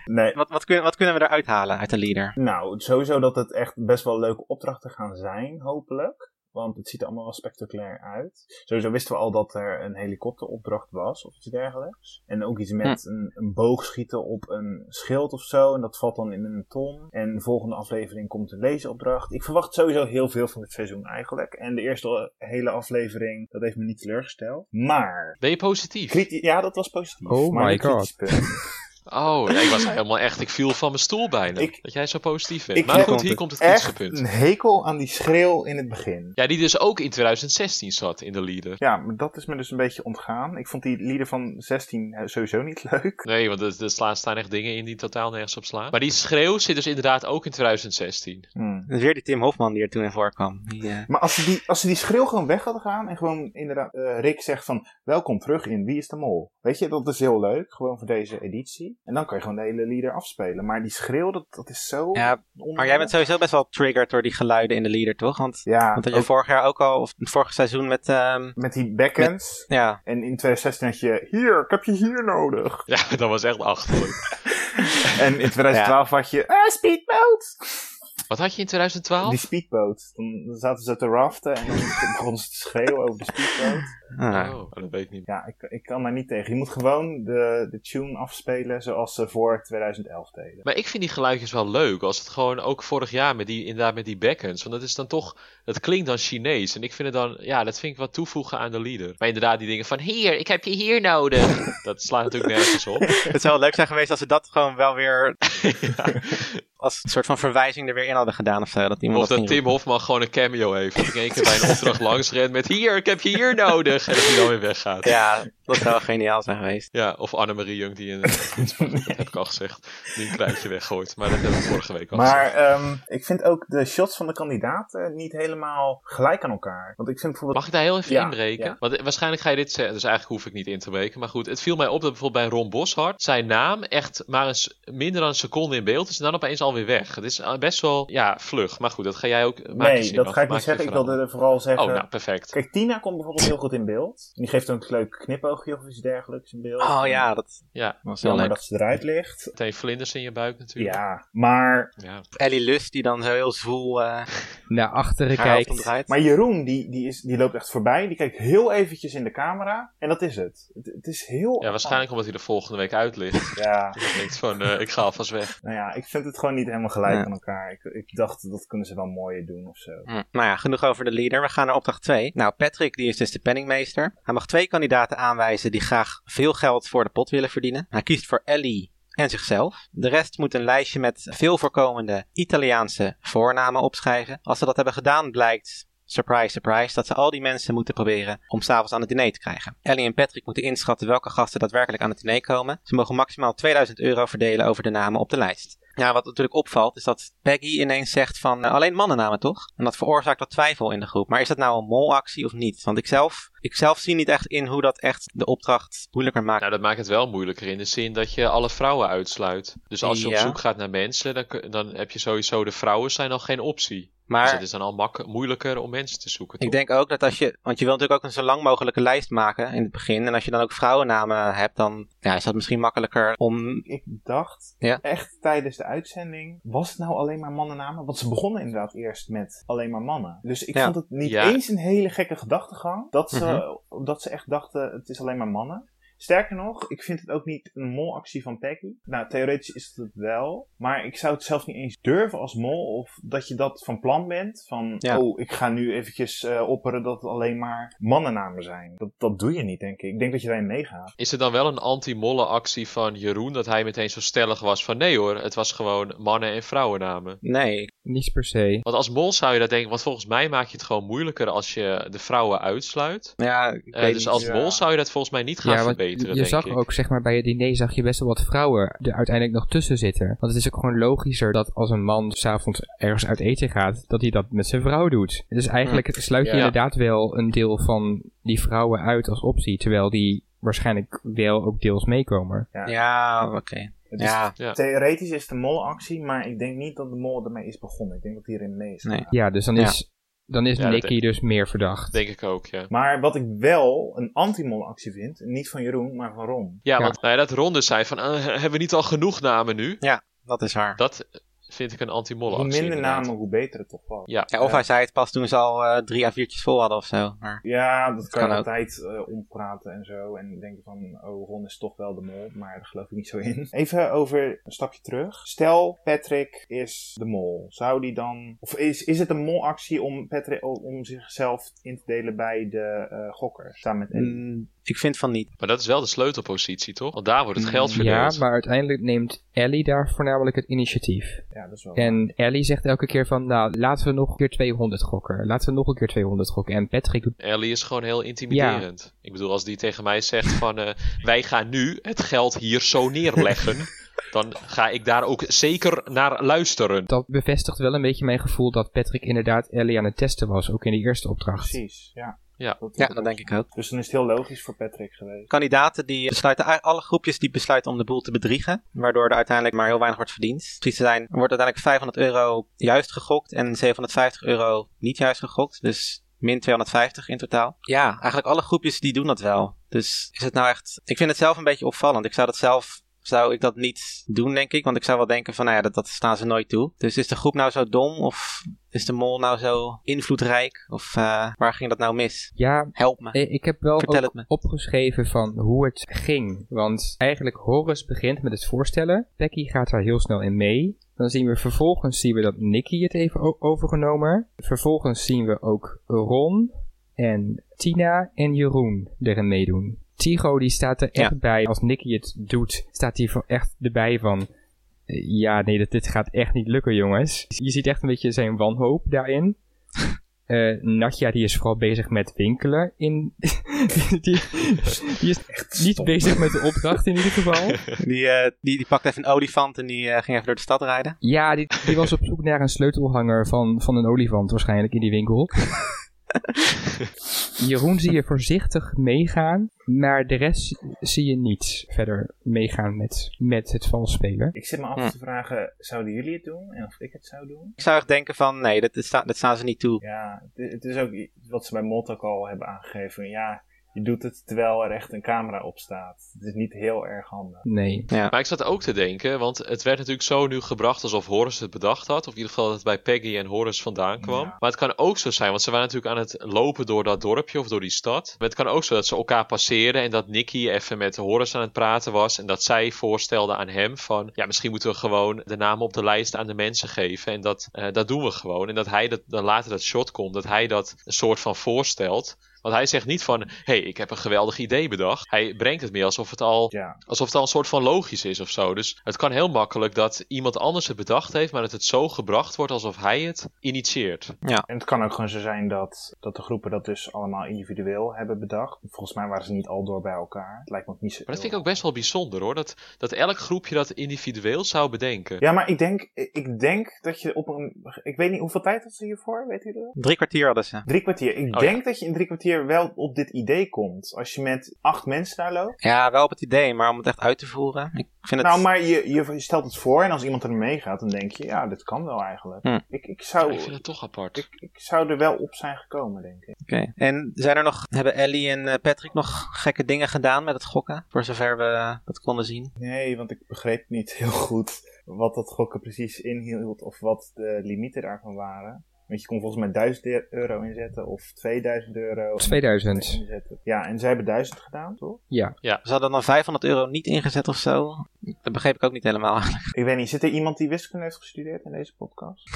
Nee.
Wat, wat, kun, wat kunnen we eruit halen uit de leader?
Nou, sowieso dat het echt best wel leuke opdrachten gaan zijn, hopelijk. Want het ziet er allemaal wel spectaculair uit. Sowieso wisten we al dat er een helikopteropdracht was of iets dergelijks. En ook iets met
Hm.
een, een boog schieten op een schild of zo. En dat valt dan in een ton. En de volgende aflevering komt een leesopdracht. Ik verwacht sowieso heel veel van dit seizoen eigenlijk. En de eerste hele aflevering, dat heeft me niet teleurgesteld. Maar
Ben je positief?
Kriti- ja, dat was positief.
Oh
maar
my
een kritisch punt.
Oh, ja, ik was helemaal echt, ik viel van mijn stoel bijna.
Ik-
dat jij zo positief bent.
ik
maar
heb
goed, hier komt het kritische
Echt
punt.
een hekel aan die schreeuw in het begin.
Ja, die dus ook in 2016 zat in de leader.
Ja, maar dat is me dus een beetje ontgaan. Ik vond die lieder van 16 sowieso niet leuk.
Nee, want er, er slaan, staan echt dingen in die totaal nergens op slaan. Maar die schreeuw zit dus inderdaad ook in 2016.
Hmm.
Dat is weer die Tim Hofman die er toen in voorkwam. Die, eh,
Maar als ze, die, als ze die schreeuw gewoon weg hadden gedaan en gewoon inderdaad eh, Rick zegt van welkom terug in Wie is de Mol. Weet je, dat is heel leuk, gewoon voor deze editie. En dan kan je gewoon de hele lieder afspelen. Maar die schreeuw, dat, dat is zo...
ja, maar jij bent sowieso best wel triggered door die geluiden in de leader, toch? Want,
Ja,
want dat
ook
je vorig jaar ook al, of vorig seizoen met, ehm,
met die backends.
ja,
En in 2016 had je, hier, ik heb je hier nodig.
Ja, dat was echt achterlijk.
En in 2012 had je, ah, speedboat!
Wat had je in 2012?
Die speedboat. Dan zaten ze te raften en dan begonnen ze te schreeuwen over de speedboat.
ah,
Oh, dat weet ik niet.
Ja, ik, ik kan daar niet tegen. Je moet gewoon de, de tune afspelen zoals ze voor 2011 deden.
Maar ik vind die geluidjes wel leuk. Als het gewoon ook vorig jaar met die, inderdaad met die bekkens. Want dat is dan toch. Dat klinkt dan Chinees. En ik vind het dan. Ja, dat vind ik wat toevoegen aan de leader. Maar inderdaad, die dingen van. Hier, ik heb je hier nodig. dat slaat natuurlijk nergens op.
Het zou wel leuk zijn geweest als ze dat gewoon wel weer
Ja.
als een soort van verwijzing er weer in hadden gedaan of zo. Dat iemand
Of
dat
dat
ging
Tim Hofman gewoon een cameo heeft. Dat ik in één keer bij een opdracht langs ren met. Hier, ik heb je hier nodig. En dat hij dan weer weggaat.
roepen. Ja, dat zou wel geniaal zijn geweest.
Ja, of Annemarie Jung die een. Dat heb ik al gezegd. Die een kruidje weggooit. Maar dat heb ik vorige week al gezegd.
Maar ehm, ik vind ook de shots van de kandidaten niet helemaal gelijk aan elkaar. Want ik vind bijvoorbeeld...
Mag ik daar heel even
Ja,
inbreken?
ja.
Want eh, waarschijnlijk ga je dit zeggen, dus eigenlijk hoef ik niet in te breken. Maar goed, het viel mij op dat bijvoorbeeld bij Ron Boshart zijn naam echt maar eens minder dan een seconde in beeld is en dan opeens alweer weg. Het is eh, best wel, ja, vlug. Maar goed, dat ga jij ook maak je
nee,
zin
dat
af,
ga ik
maak
niet
je
zeggen. Ik
verhaal.
wilde er vooral zeggen...
Oh, nou, perfect.
Kijk, Tina komt bijvoorbeeld heel goed in beeld. En die geeft een leuk knipoogje of iets dergelijks in beeld.
Oh ja, dat
Ja,
was wel
Jammer
leuk.
dat ze eruit ligt.
meteen vlinders in je buik natuurlijk.
Ja, maar,
Ja.
Ellie Lust die dan zo heel zwoel eh,
Naar achteren
haar hoofd
kijkt.
omdraait.
maar Jeroen, die, die, is, die loopt echt voorbij. Die kijkt heel eventjes in de camera. En dat is het. Het, het is heel...
Ja, waarschijnlijk omdat hij er volgende week uit ligt.
Ja,
Dat je denkt van, eh, ik ga alvast weg.
nou ja, ik vind het gewoon niet helemaal gelijk
Ja.
aan elkaar. Ik, ik dacht, dat kunnen ze wel mooier doen of zo.
Hm, Nou ja, genoeg over de leader. We gaan naar opdracht 2. Nou, Patrick die is dus de penningmeester. Hij mag twee kandidaten aanwijzen die graag veel geld voor de pot willen verdienen. Hij kiest voor Ellie en zichzelf. De rest moet een lijstje met veel voorkomende Italiaanse voornamen opschrijven. Als ze dat hebben gedaan blijkt, surprise surprise, dat ze al die mensen moeten proberen om s'avonds aan het diner te krijgen. Ellie en Patrick moeten inschatten welke gasten daadwerkelijk aan het diner komen. Ze mogen maximaal 2000 euro verdelen over de namen op de lijst. Ja, wat natuurlijk opvalt is dat Peggy ineens zegt van eh, alleen mannennamen toch? En dat veroorzaakt wat twijfel in de groep. Maar is dat nou een molactie of niet? Want ik zelf, ik zelf zie niet echt in hoe dat echt de opdracht moeilijker maakt.
Nou, dat maakt het wel moeilijker in de zin dat je alle vrouwen uitsluit. Dus als je op
Ja.
zoek gaat naar mensen, dan, kun- dan heb je sowieso de vrouwen zijn al geen optie. Dus
maar
het is dan al mak- moeilijker om mensen te zoeken.
ik
toch?
denk ook dat als je, want je wil natuurlijk ook een zo lang mogelijke lijst maken in het begin. En als je dan ook vrouwennamen hebt, dan ja, is dat misschien makkelijker om...
Ik dacht
Ja.
echt tijdens de uitzending, was het nou alleen maar mannennamen? Want ze begonnen inderdaad eerst met alleen maar mannen. Dus ik
Ja.
vond het niet
Ja.
eens een hele gekke gedachtegang dat ze,
Mhm.
dat ze echt dachten het is alleen maar mannen. Sterker nog, ik vind het ook niet een molactie van Peggy. Nou, theoretisch is het het wel. Maar ik zou het zelf niet eens durven als mol. Of dat je dat van plan bent. Van,
Ja.
oh, ik ga nu eventjes eh, opperen dat het alleen maar mannennamen zijn. Dat, dat doe je niet, denk ik. Ik denk dat je daarin meegaat.
Is er dan wel een anti-molle actie van Jeroen dat hij meteen zo stellig was van nee hoor, het was gewoon mannen- en vrouwennamen?
Nee,
Niets per se.
Want als mol zou je dat denken, want volgens mij maak je het gewoon moeilijker als je de vrouwen uitsluit.
ja, ik
Eh,
weet
dus
niet.
als
ja.
mol zou je dat volgens mij niet gaan
want
verbeteren,
je
denk
zag
ik.
ook, zeg maar, bij het diner zag je best wel wat vrouwen er uiteindelijk nog tussen zitten. Want het is ook gewoon logischer dat als een man s'avonds ergens uit eten gaat, dat hij dat met zijn vrouw doet. Dus eigenlijk sluit je
Hm. Ja.
inderdaad wel een deel van die vrouwen uit als optie, terwijl die waarschijnlijk wel ook deels meekomen.
Ja, oké.
Het
Dus
is
Ja,
Ja.
Theoretisch is het een molactie, maar ik denk niet dat de mol ermee is begonnen. Ik denk dat hij erin mee is.
Nee.
gegaan.
Ja, dus dan
Ja.
is, dan is
Ja, dat
Nicky dus meer verdacht.
Denk ik ook, ja.
Maar wat ik wel een anti-molactie vind, niet van Jeroen, maar van Ron.
Ja,
Ja.
want nou ja, dat ronde zei van, eh, hebben we niet al genoeg namen nu?
dat is waar.
Dat eh, vind ik een anti-molle
Hoe
actie.
minder
inderdaad.
namen, hoe beter het toch was.
Ja.
Ja, of hij zei het pas toen ze al eh, drie à viertjes vol hadden of zo. Maar
Ja, dat kan,
Kan
je
ook.
altijd eh, ompraten en zo. En denken van, oh, Ron is toch wel de mol. Maar daar geloof ik niet zo in. Even over een stapje terug. Stel, Patrick is de mol. Zou die dan... Of is, is het een molactie om, Patrick, om zichzelf in te delen bij de eh gokker? Samen met Ellie?
mm, ik vind van niet.
Maar dat is wel de sleutelpositie, toch? Want daar wordt het geld
Ja,
verdeeld.
maar uiteindelijk neemt Ellie daar voornamelijk het initiatief.
Ja, dat is wel...
En Ellie zegt elke keer van, nou, laten we nog een keer 200 gokken. Laten we nog een keer 200 gokken. En Patrick doet...
Ellie is gewoon heel intimiderend. Ik bedoel, als die tegen mij zegt van... eh, wij gaan nu het geld hier zo neerleggen... dan ga ik daar ook zeker naar luisteren.
Dat bevestigt wel een beetje mijn gevoel dat Patrick inderdaad Ellie aan het testen was. Ook in die eerste opdracht.
Precies, ja.
Ja.
Ja, dat denk ik ook.
Dus dan is het heel logisch voor Patrick geweest.
Kandidaten die besluiten, a- alle groepjes die besluiten om de boel te bedriegen, waardoor er uiteindelijk maar heel weinig wordt verdiend. Precies te zijn, er wordt uiteindelijk 500 euro juist gegokt en 750 euro niet juist gegokt. Dus min 250 in totaal. Ja, eigenlijk alle groepjes die doen dat wel. Dus is het nou echt... Ik vind het zelf een beetje opvallend. Ik zou dat zelf... Zou ik dat niet doen, denk ik? Want ik zou wel denken van, nou ja, dat, dat staan ze nooit toe. Dus is de groep nou zo dom? Of is de mol nou zo invloedrijk? Of eh, waar ging dat nou mis?
Ja,
Help me.
eh, ik heb wel
Vertel
ook
het me.
opgeschreven van hoe het ging. Want eigenlijk Horace begint met het voorstellen. Becky gaat daar heel snel in mee. Dan zien we vervolgens zien we dat Nicky het even o- overgenomen. Vervolgens zien we ook Ron en Tina en Jeroen erin meedoen. Tigo die staat er echt bij. Als Nicky het doet, staat hij er echt erbij van... eh, Ja, nee, dat, dit gaat echt niet lukken, jongens. Je ziet echt een beetje zijn wanhoop daarin. Eh, Natja die is vooral bezig met winkelen. In, die, die is niet
stom.
bezig met de opdracht in ieder geval.
Die, eh, die, die pakte even een olifant en die eh, ging even door de stad rijden.
Ja, die, die was op zoek naar een sleutelhanger van, van een olifant waarschijnlijk in die winkel. Jeroen zie je voorzichtig meegaan, maar de rest zie je niet verder meegaan met, met het vals spelen.
Ik zit me af
Hm.
te vragen, zouden jullie het doen? En of ik het zou doen?
Ik zou echt denken van, nee, dat, dat, sta- dat staan ze niet toe.
Ja, het het is ook i- wat ze bij Mot ook al hebben aangegeven. Ja, je doet het terwijl er echt een camera op staat. Het is niet heel erg handig.
Nee.
Maar ik zat ook te denken, want het werd natuurlijk zo nu gebracht alsof Horace het bedacht had. Of in ieder geval dat het bij Peggy en Horace vandaan kwam.
Ja.
Maar het kan ook zo zijn, want ze waren natuurlijk aan het lopen door dat dorpje of door die stad. Maar het kan ook zo dat ze elkaar passeerden en dat Nicky even met Horace aan het praten was. En dat zij voorstelde aan hem van, ja misschien moeten we gewoon de namen op de lijst aan de mensen geven. En dat, eh, dat doen we gewoon. En dat hij dat, dan later dat shot komt, dat hij dat een soort van voorstelt. Want hij zegt niet van, hé, hey, ik heb een geweldig idee bedacht. Hij brengt het meer alsof het al
Ja,
Alsof het al een soort van logisch is of zo. Dus het kan heel makkelijk dat iemand anders het bedacht heeft, maar dat het zo gebracht wordt alsof hij het initieert.
en het kan ook gewoon zo zijn dat, dat de groepen dat dus allemaal individueel hebben bedacht. Volgens mij waren ze niet al door bij elkaar. Het lijkt me ook niet zo...
Maar dat vind ik ook best wel bijzonder hoor. Dat, dat elk groepje dat individueel zou bedenken.
Ja, maar ik denk, ik denk dat je op een... Ik weet niet, hoeveel tijd had ze hiervoor? Weet u dat?
Drie kwartier hadden ze.
Drie kwartier. Ik
Oh,
denk dat je in drie kwartier wel op dit idee komt. Als je met acht mensen daar loopt.
Ja, wel op het idee, maar om het echt uit te voeren. Ik vind het...
Nou, maar je, je stelt het voor en als iemand er mee gaat, dan denk je, ja, dit kan wel eigenlijk.
Hm.
Ik, ik,
Ja,
zou,
ik vind het toch apart.
ik, ik zou er wel op zijn gekomen, denk ik.
Oké. En zijn er nog, hebben Ellie en eh, Patrick nog gekke dingen gedaan met het gokken? Voor zover we eh, dat konden zien.
Nee, want ik begreep niet heel goed wat dat gokken precies inhield of wat de limieten daarvan waren. Want je kon volgens mij 1000 euro inzetten of 2000
Oh.
euro.
2000.
inzetten. Ja, en zij hebben 1000 gedaan, toch?
Ze hadden dan 500 euro niet ingezet of zo. Dat begreep ik ook niet helemaal.
Ik weet niet, zit er iemand die wiskunde heeft gestudeerd in deze podcast?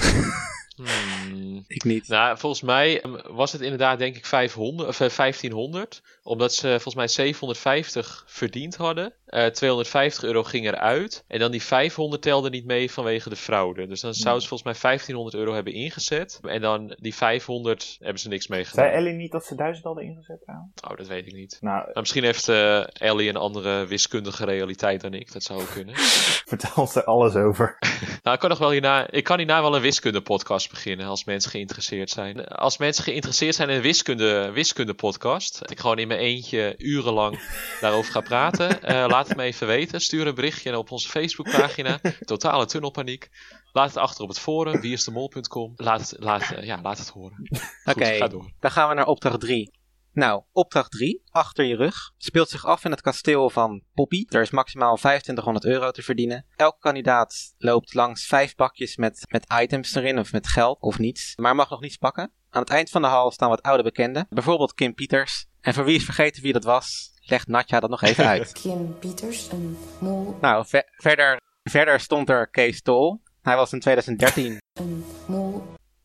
Hmm.
ik niet.
Nou, volgens mij ehm, was het inderdaad denk ik 500, of, eh, 1500. Omdat ze eh, volgens mij 750 verdiend hadden. Eh, 250 euro ging eruit. En dan die 500 telde niet mee vanwege de fraude. Dus dan zouden ze volgens mij 1500 euro hebben ingezet. En dan die 500 hebben ze niks mee gedaan.
Zei Ellie niet dat ze 1000 hadden ingezet trouwens?
Oh, dat weet ik niet.
Nou,
Maar misschien heeft eh, Ellie een andere wiskundige realiteit dan ik. Dat zou ook kunnen.
vertel ze alles over.
Nou, ik kan nog wel hierna, ik kan hierna wel een wiskundepodcast beginnen als mensen geïnteresseerd zijn. Als mensen geïnteresseerd zijn in een wiskunde, wiskundepodcast, dat ik gewoon in mijn eentje urenlang daarover ga praten, eh, laat het me even weten. Stuur een berichtje op onze Facebookpagina, Totale Tunnelpaniek. Laat het achter op het forum, wieisdemol.com. Laat, het- laat, eh, ja, laat het horen.
Oké,
Goed, ga door.
dan gaan we naar opdracht 3. Nou, opdracht 3, achter je rug, speelt zich af in het kasteel van Poppy. Er is maximaal 2500 euro te verdienen. Elke kandidaat loopt langs vijf bakjes met, met items erin, of met geld, of niets, maar mag nog niets pakken. Aan het eind van de hal staan wat oude bekenden, bijvoorbeeld Kim Pieters. En voor wie is vergeten wie dat was, legt Natja dat nog even uit.
Kim Pieters, een mol,
nou, ve- verder, verder stond er Kees Tol. Hij was in 2013
een mol,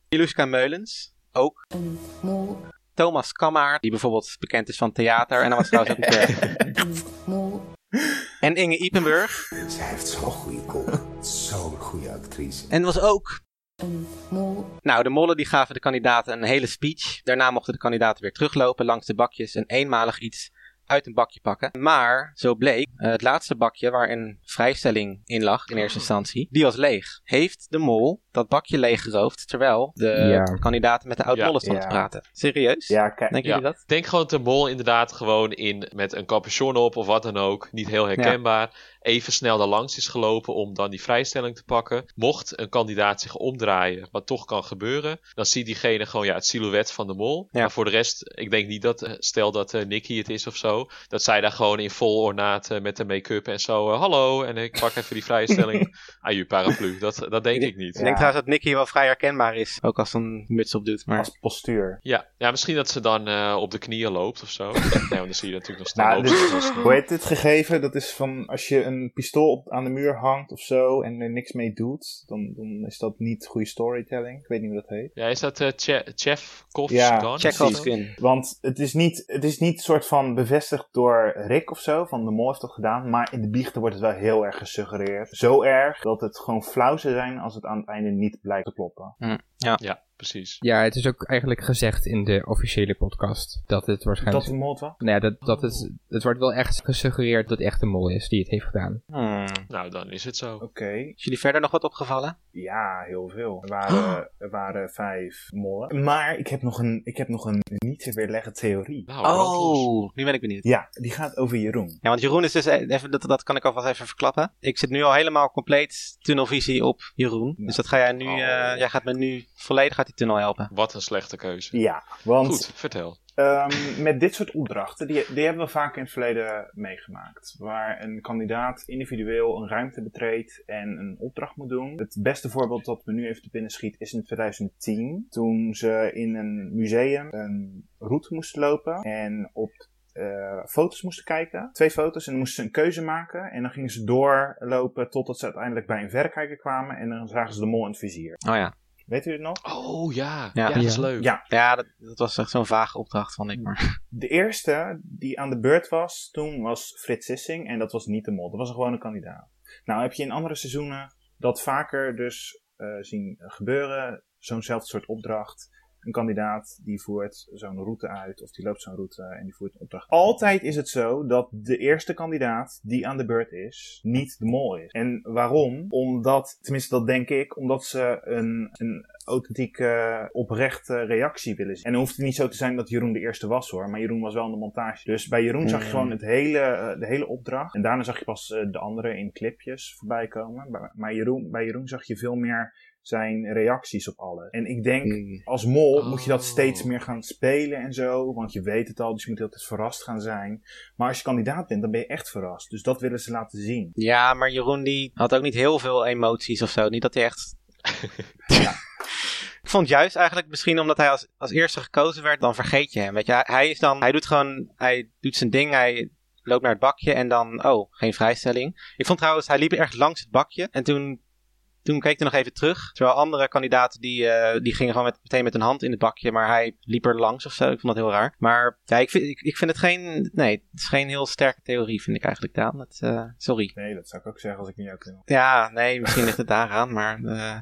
Iluska Meulens, ook.
een mol,
Thomas Kammaert, die bijvoorbeeld bekend is van theater. En dan was trouwens ook een keer.
een mol,
En Inge Ipenburg.
Zij heeft zo'n goede kop. Zo'n goede actrice.
En was ook.
een mol,
Nou, de mollen die gaven de kandidaten een hele speech. Daarna mochten de kandidaten weer teruglopen langs de bakjes en eenmalig iets uit een bakje pakken. Maar, zo bleek, eh, het laatste bakje waar een vrijstelling in lag, in eerste instantie, die was leeg. Heeft de mol dat bakje leeggeroofd, terwijl de
Ja.
kandidaten met de oud-mollen
Ja.
stonden
Ja.
te praten? Serieus?
Ja, kijk.
Denken
Ja.
jullie dat?
Ik denk gewoon dat de mol inderdaad gewoon in met een capuchon op of wat dan ook, niet heel herkenbaar, even snel daar langs is gelopen om dan die vrijstelling te pakken. Mocht een kandidaat zich omdraaien, wat toch kan gebeuren, dan ziet diegene gewoon ja, het silhouet van de mol.
Ja.
Maar voor de rest, ik denk niet dat, eh, stel dat eh, Nicky het is of zo, dat zij daar gewoon in vol ornaat eh, met de make-up en zo, eh, hallo, en ik pak even die vrijstelling aan je paraplu. Dat, dat denk ik niet.
Ik denk trouwens dat Nicky wel vrij herkenbaar is, ook als ze een muts op doet. Maar...
Als postuur.
Ja, ja, misschien dat ze dan eh, op de knieën loopt of zo. nee, want dan zie je natuurlijk nog snel
Nou,
lopen.
dus, hoe heet dit gegeven? Dat is van als je een pistool op, aan de muur hangt of zo en er niks mee doet, dan, dan is dat niet goede storytelling. Ik weet niet hoe dat heet.
Ja, is dat eh Che- Chef Koffs
Ja,
Gun?
Check
precies.
als gun.
Want het is niet, het is niet soort van bevestigd door Rick of zo, van de mol heeft dat gedaan, maar in de biechten wordt het wel heel erg gesuggereerd. Zo erg dat het gewoon flauw zou zijn als het aan het einde niet blijkt te kloppen.
Ja, precies.
Ja, het is ook eigenlijk gezegd in de officiële podcast dat het waarschijnlijk...
Dat de mol het was?
Nou ja, dat, dat het, het wordt wel echt gesuggereerd dat het echt de mol is die het heeft gedaan.
Hmm.
Nou, dan is het zo.
Oké,
Is jullie verder nog wat opgevallen?
ja, heel veel. Er waren, er waren vijf mollen. Maar ik heb nog een, ik heb nog een niet te weerleggen theorie.
Nou, brandlos.
Oh, nu ben ik benieuwd.
Ja, die gaat over Jeroen.
Ja, want Jeroen is dus, eh, even, dat, dat kan ik alvast even verklappen. Ik zit nu al helemaal compleet tunnelvisie op Jeroen. Dus dat ga jij nu,
Oh.
eh, jij gaat me nu volledig uit die tunnel helpen.
Wat een slechte keuze.
Ja, want
Goed, vertel.
Ehm, met dit soort opdrachten, die, die hebben we vaak in het verleden meegemaakt. Waar een kandidaat individueel een ruimte betreedt en een opdracht moet doen. Het beste voorbeeld dat me nu even te binnen schiet is in 2010. Toen ze in een museum een route moesten lopen en op eh, foto's moesten kijken. Twee foto's en dan moesten ze een keuze maken. En dan gingen ze doorlopen totdat ze uiteindelijk bij een verrekijker kwamen. En dan zagen ze de mol in het vizier.
Oh ja.
Weet u het nog?
Oh ja,
Ja.
ja, dat is
Ja.
leuk.
Ja.
Ja, dat, dat was echt zo'n vage opdracht, vond ik. Maar.
De eerste die aan de beurt was toen was Frits Sissing. En dat was niet de mol. Dat was gewoon een kandidaat. Nou heb je in andere seizoenen dat vaker dus eh, zien gebeuren. Zo'nzelfde soort opdracht. Een kandidaat die voert zo'n route uit. Of die loopt zo'n route en die voert een opdracht. Altijd is het zo dat de eerste kandidaat die aan de beurt is, niet de mol is. En waarom? Omdat, tenminste dat denk ik, omdat ze een, een authentieke, oprechte reactie willen zien. En dan hoeft het niet zo te zijn dat Jeroen de eerste was hoor, maar Jeroen was wel in de montage. Dus bij Jeroen zag je
Mm.
gewoon het hele, eh, de hele opdracht. En daarna zag je pas eh, de anderen in clipjes voorbij komen. Maar- Maar Jeroen, bij Jeroen zag je veel meer zijn reacties op alles. En ik denk,
Hm. Mm.
als mol moet je dat
Oh.
steeds meer gaan spelen en zo. Want je weet het al, dus je moet altijd verrast gaan zijn. Maar als je kandidaat bent, dan ben je echt verrast. Dus dat willen ze laten zien.
Ja, maar Jeroen die had ook niet heel veel emoties of zo. Niet dat hij echt... Ja. Ik vond juist eigenlijk misschien omdat hij als, als eerste gekozen werd, dan vergeet je hem. Weet je, hij, hij is dan, hij doet gewoon, hij doet zijn ding, hij loopt naar het bakje en dan, oh, geen vrijstelling. Ik vond trouwens, hij liep erg langs het bakje en toen, toen keek hij nog even terug. Terwijl andere kandidaten die, eh, die gingen gewoon met, meteen met een hand in het bakje, maar hij liep er langs of zo. Ik vond dat heel raar. Maar ja, ik vind, ik, ik vind het geen, nee, het is geen heel sterke theorie, vind ik eigenlijk, Daan. Het, eh, sorry.
Nee, dat zou ik ook zeggen als ik niet jou kan.
Ja, nee, misschien ligt het daaraan, maar eh,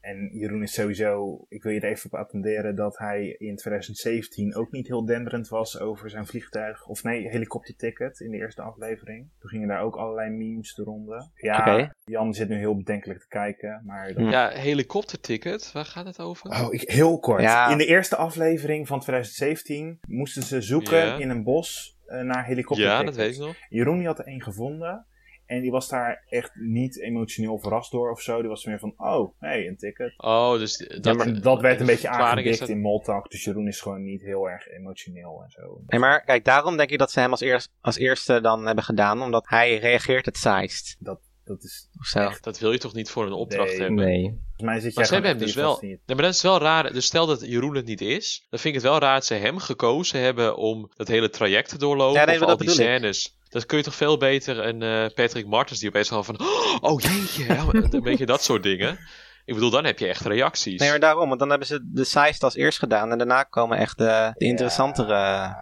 En Jeroen is sowieso, ik wil je er even op attenderen dat hij in 2017 ook niet heel denderend was over zijn vliegtuig, of nee, helikopterticket in de eerste aflevering. Toen gingen daar ook allerlei memes de ronde. Ja,
Oké.
Jan zit nu heel bedenkelijk te kijken, maar dat...
Hm.
Ja, helikopterticket, waar gaat het over?
Oh, ik, heel kort.
Ja.
In de eerste aflevering van 2017 moesten ze zoeken
Ja.
in een bos eh, naar helikoptertickets.
ja, dat weet ik nog.
Jeroen die had er één gevonden. En die was daar echt niet emotioneel verrast door of zo. Die was meer van, oh, hey, een ticket.
Oh, dus dat,
Dat, dat werd een
de
beetje
verklaring is
aangedikt
dat-
in Moltak. Dus Jeroen is gewoon niet heel erg emotioneel en zo.
Nee, maar kijk, daarom denk ik dat ze hem als, eerst, als eerste dan hebben gedaan, omdat hij reageert het saaist.
Dat is,
Of zo.
Dat wil je toch niet voor een opdracht
Nee.
hebben?
Nee.
volgens mij zit
Maar
jij
ze hebben hem
gewoon
dus
echt
wel.
vast in je-
Nee, maar dat is wel raar. Dus stel dat Jeroen het niet is, dan vind ik het wel raar dat ze hem gekozen hebben om dat hele traject te doorlopen.
Ja, nee,
of
maar
al
dat
die
bedoel ik.
scènes. Dat kun je toch veel beter een eh, Patrick Martens die opeens gewoon van. Oh jeetje, hè?" een beetje dat soort dingen. Ik bedoel, dan heb je echt reacties.
Nee, maar daarom, want dan hebben ze de saaiste als eerst gedaan en daarna komen echt de, de interessantere.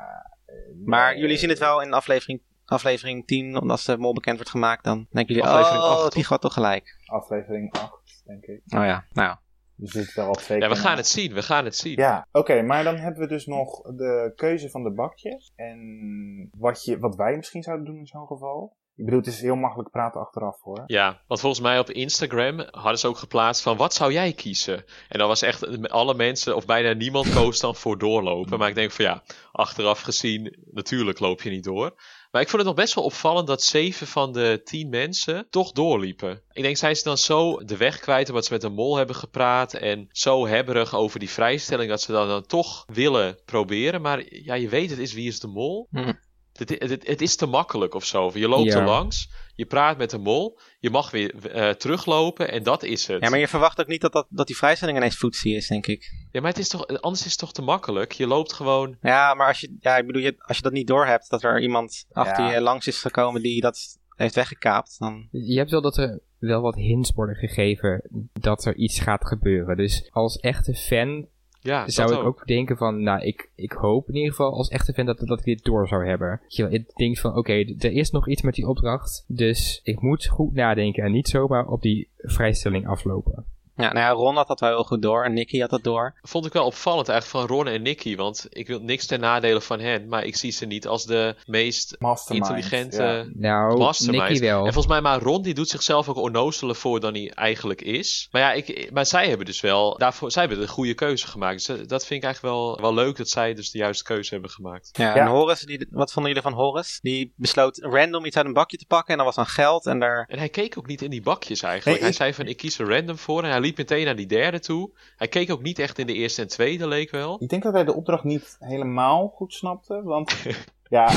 Maar jullie zien het wel in aflevering, aflevering 10, omdat ze mol bekend wordt gemaakt, dan denken jullie,
Aflevering
oh,
acht, toch?
die gaat toch gelijk.
eh, Aflevering 8, denk ik.
Oh ja, nou.
Dus dit is wel al twee
Ja, we
keer
gaan
na.
het zien, we gaan het zien.
Ja, oké, maar dan hebben we dus nog de keuze van de bakjes. En wat, je, wat wij misschien zouden doen in zo'n geval. Ik bedoel, het is heel makkelijk praten achteraf hoor.
Ja, want volgens mij op Instagram hadden ze ook geplaatst van wat zou jij kiezen? En dan was echt alle mensen, of bijna niemand koos dan voor doorlopen. Maar ik denk van ja, achteraf gezien, natuurlijk loop je niet door. Maar ik vond het nog best wel opvallend dat zeven van de tien mensen toch doorliepen. Ik denk, zijn ze dan zo de weg kwijt omdat ze met een mol hebben gepraat en zo hebberig over die vrijstelling dat ze dat dan toch willen proberen. Maar ja, je weet het is wie is de mol.
Hm.
Het, i- het- het is te makkelijk of zo. Je loopt
Ja.
er langs, je praat met de mol, je mag weer eh, teruglopen en dat is het.
Ja, maar je verwacht ook niet dat, dat, dat die vrijstelling ineens footsie is, denk ik.
Ja, maar het is toch, anders is het toch te makkelijk? Je loopt gewoon.
Ja, maar als je, ja, ik bedoel, je, als je dat niet doorhebt, dat er iemand achter
Ja.
je langs is gekomen die dat heeft weggekaapt, dan...
Je hebt wel dat er wel wat hints worden gegeven dat er iets gaat gebeuren. Dus als echte fan
Ja, dat
zou ik ook. denken van, nou, ik, ik hoop in ieder geval als echte fan dat, dat ik dit door zou hebben. Weet Je wel, ik denk van, oké, d- er is nog iets met die opdracht, dus ik moet goed nadenken en niet zomaar op die vrijstelling aflopen.
Ja, nou ja, Ron had dat wel heel goed door en Nicky had dat door.
Vond ik wel opvallend eigenlijk van Ron en Nicky. Want ik wil niks ten nadele van hen. Maar ik zie ze niet als de meest
Mastermind.
intelligente
ja.
Nou,
mastermind.
Nicky wel.
En volgens mij, maar Ron die doet zichzelf ook onnozeler voor dan hij eigenlijk is. Maar ja, ik, maar zij hebben dus wel... Daarvoor, zij hebben de goede keuze gemaakt. Dus dat- dat vind ik eigenlijk wel, wel leuk dat zij dus de juiste keuze hebben gemaakt.
Ja,
Ja.
en Horus, die, wat vonden jullie van Horus? Die besloot random iets uit een bakje te pakken en dat was dan geld en daar...
En hij keek ook niet in die bakjes eigenlijk.
Nee,
hij zei van, ik kies er random voor. En hij liep meteen naar die derde toe. Hij keek ook niet echt in de eerste en tweede, leek wel.
Ik denk dat hij de opdracht niet helemaal goed snapte, want ja,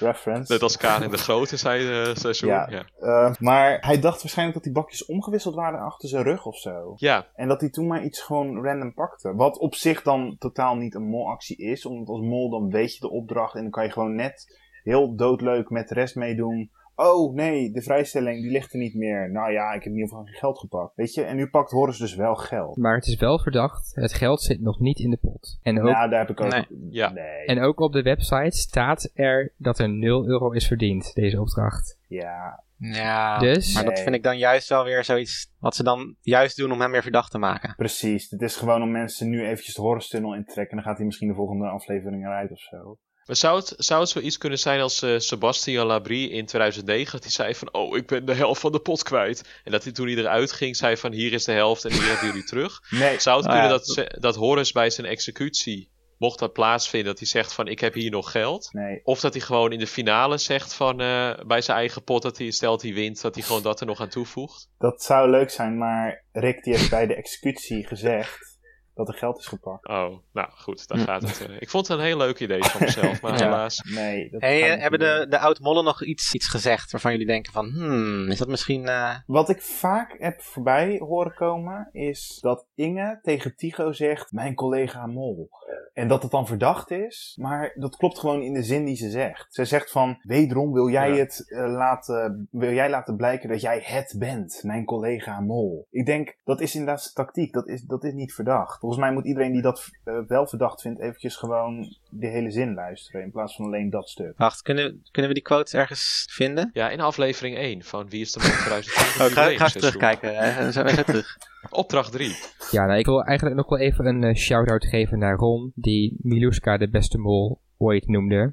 reference.
Net als Karin de Grote zei eh seizoen.
Ja.
Ja.
Eh, maar hij dacht waarschijnlijk dat die bakjes omgewisseld waren achter zijn rug of zo.
ja,
En dat hij toen maar iets gewoon random pakte. Wat op zich dan totaal niet een molactie is. Omdat als mol dan weet je de opdracht en dan kan je gewoon net heel doodleuk met de rest meedoen. Oh nee, de vrijstelling die ligt er niet meer. Nou ja, ik heb in ieder geval geen geld gepakt. Weet je, en nu pakt Horus dus wel geld.
Maar het is wel verdacht, het geld zit nog niet in de pot. En ook,
Nou, daar heb ik ook...
Nee.
Ja.
Nee.
en ook op de website staat er dat er 0 euro is verdiend, deze opdracht.
Ja.
Ja,
Dus-
maar dat
Nee.
vind ik dan juist wel weer zoiets wat ze dan juist doen om hem weer verdacht te maken.
Precies, dit is gewoon om mensen nu eventjes de Horus-tunnel in te trekken. En dan gaat hij misschien de volgende aflevering eruit of zo.
Maar zou het, zou het zoiets kunnen zijn als eh, Sebastian Labrie in 2009? Dat hij zei van, oh, ik ben de helft van de pot kwijt. En dat hij toen hij eruit ging, zei van, hier is de helft en hier hebben jullie terug.
Nee,
Zou het
Ah,
kunnen
ja.
dat, ze- dat Horus bij zijn executie, mocht dat plaatsvinden, dat hij zegt van, ik heb hier nog geld?
nee.
Of dat hij gewoon in de finale zegt van, eh, bij zijn eigen pot, dat hij stelt hij wint, dat hij gewoon dat er nog aan toevoegt?
Dat zou leuk zijn, maar Rick die heeft bij de executie gezegd dat er geld is gepakt.
Oh, nou goed, daar gaat het. eh. Ik vond het een heel leuk idee van mezelf, maar
Ja.
helaas.
Nee, dat
Hey,
gaat
eh,
niet
hebben
gebeuren.
de, de oud-mollen nog iets, iets gezegd waarvan jullie denken van, hmm, is dat misschien... eh,
Wat ik vaak heb voorbij horen komen, is dat Inge tegen Tigo zegt, mijn collega Mol. Eh, En dat het dan verdacht is, maar dat klopt gewoon in de zin die ze zegt. Ze zegt van, wederom wil jij
Ja.
het eh, laten, wil jij laten blijken dat jij het bent, mijn collega Mol. Ik denk, dat is inderdaad zijn tactiek, dat is, dat is niet verdacht. Volgens mij moet iedereen die dat eh, wel verdacht vindt, eventjes gewoon de hele zin luisteren, in plaats van alleen dat stuk.
Wacht, kunnen, kunnen we die quotes ergens vinden?
Ja, in aflevering 1 van Wie is de Man 2020?
Oh, ik ga, ik ga
jubileumseizoen.
even terugkijken. eh, zo- zo terug.
Opdracht 3.
Ja, nou, ik wil eigenlijk nog wel even een eh, shout-out geven naar Ron, die Miluska de beste mol ooit noemde.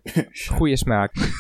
Goeie smaak.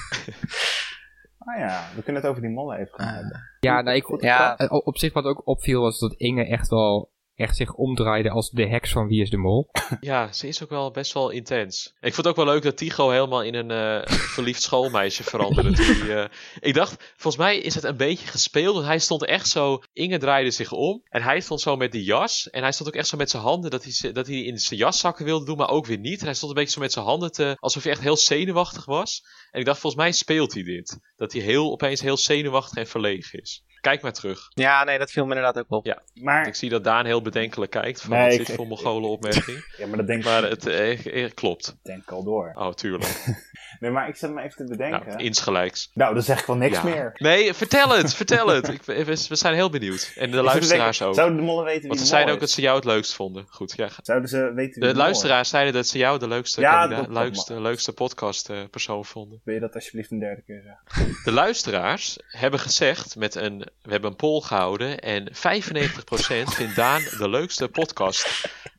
Ah ja, we kunnen
Ah,
het over die mollen even gaan hebben.
Ja, nou, ik,
Ja.
eh, op zich wat ook opviel was dat Inge echt wel echt zich omdraaide als de heks van Wie is de Mol.
Ja, ze is ook wel best wel intens. Ik vond het ook wel leuk dat Tigo helemaal in een eh, verliefd schoolmeisje veranderde. Toen die, eh, ik dacht, volgens mij is het een beetje gespeeld. Want hij stond echt zo, Inge draaide zich om. En hij stond zo met die jas. En hij stond ook echt zo met zijn handen dat hij, ze- dat hij in zijn jaszakken wilde doen, maar ook weer niet. En hij stond een beetje zo met zijn handen te, alsof hij echt heel zenuwachtig was. En ik dacht, volgens mij speelt hij dit. Dat hij heel, opeens heel zenuwachtig en verlegen is. Kijk maar terug.
Ja, nee, dat viel me inderdaad ook op.
Ja. Ik
Maar,
zie dat Daan heel bedenkelijk kijkt. Van,
Nee,
wat
ik-
is dit voor mongolen opmerking?
ja, maar dat denk ik,
Maar het eh, eh, klopt.
denk ik al door.
Oh, tuurlijk.
Nee, maar ik zat me even te bedenken.
Nou,
Nou,
insgelijks.
dan zeg ik wel niks
Ja.
meer.
Nee, vertel het, vertel het. Ik, we, we zijn heel benieuwd. En de
Ik zat te
luisteraars
denken,
ook.
Zouden de mollen weten wie
Want ze
de
zeiden
mol
ook dat
is?
ze jou het leukst vonden. Goed, ja.
Zouden ze weten wie
De
de, mol is?
luisteraars zeiden dat ze jou de leukste,
Ja,
kandida-
dat klopt,
leukste, leukste podcastpersoon vonden.
Wil je dat alsjeblieft een derde keer zeggen?
De luisteraars hebben gezegd, met een, we hebben een poll gehouden. En 95% vindt Daan de leukste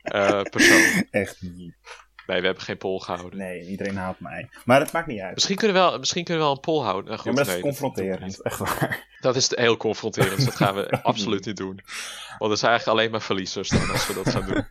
podcastpersoon.
Echt niet.
nee, we hebben geen poll gehouden.
Nee, iedereen haat mij. Maar dat maakt niet uit.
Misschien kunnen, we wel, misschien kunnen we wel een poll houden. Nou,
Ja,
goed,
maar dat is
nee,
confronterend. Echt waar.
Dat is heel confronterend. dus dat gaan we absoluut niet doen. Want er zijn eigenlijk alleen maar verliezers dan als we dat gaan doen.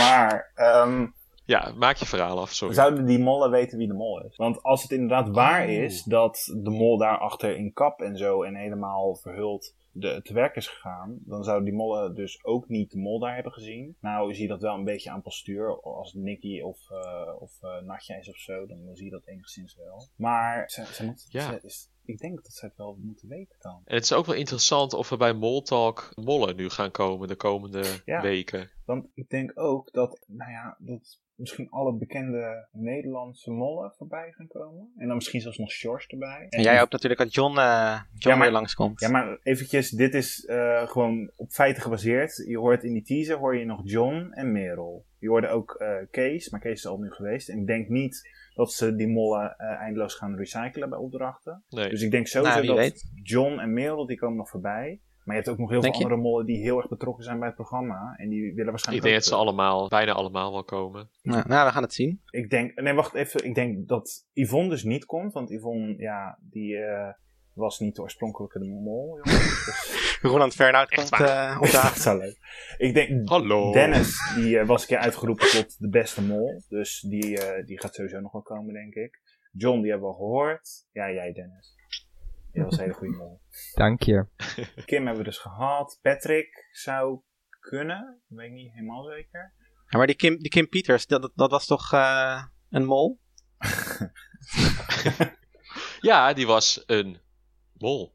Maar, ehm,
Ja, maak je verhaal af, sorry.
Zouden die mollen weten wie de mol is? Want als het inderdaad waar is dat de mol daarachter in kap en zo en helemaal verhuld de, te werk is gegaan, dan zouden die mollen dus ook niet de mol daar hebben gezien. Nou zie je dat wel een beetje aan postuur. Als Nicky of, eh of eh, Natja is of zo, dan zie je dat enigszins wel. Maar ze, ze moet-
Ja.
ze is, ik denk dat ze het wel moeten weten dan.
En het is ook wel interessant of er bij Moltalk mollen nu gaan komen de komende
Ja.
weken.
Want ik denk ook dat, nou ja, dat misschien alle bekende Nederlandse mollen voorbij gaan komen. En dan misschien zelfs nog Sjors erbij.
En
En
jij hoopt natuurlijk dat John, eh John
Ja, maar-
weer langskomt.
Ja, maar eventjes, dit is eh, gewoon op feiten gebaseerd. Je hoort in die teaser hoor je nog John en Merel. Je hoorde ook eh, Kees, maar Kees is al nu geweest. En ik denk niet dat ze die mollen eh, eindeloos gaan recyclen bij opdrachten.
Nee.
Dus ik denk sowieso
Nou, wie
dat
weet.
John en Merel, die komen nog voorbij. Maar je hebt ook nog heel
Denk
veel
je?
andere mollen die heel erg betrokken zijn bij het programma. En die willen
ik denk
waarschijnlijk ook
dat ze
terug.
allemaal, bijna allemaal wel komen.
Nou, nou, we gaan het zien.
eh, Ik denk, nee, wacht even. Ik denk dat Yvonne dus niet komt. Want Yvonne, ja, die eh, was niet de oorspronkelijke mol. jongen. Dus-
Roland Fernhout komt eh, op de
dat zou leuk. Ik denk,
Hallo.
Dennis, die eh, was een keer uitgeroepen tot de beste mol. Dus die, eh, die gaat sowieso nog wel komen, denk ik. John, die hebben we al gehoord. Ja, jij, Dennis. Jij was een hele goede mol.
Dank je.
Kim hebben we dus gehad. Patrick zou kunnen. Dat weet ik niet helemaal zeker.
Ja, maar die Kim, die Kim Peters, dat, dat- dat was toch eh, een mol?
Ja, die was een mol.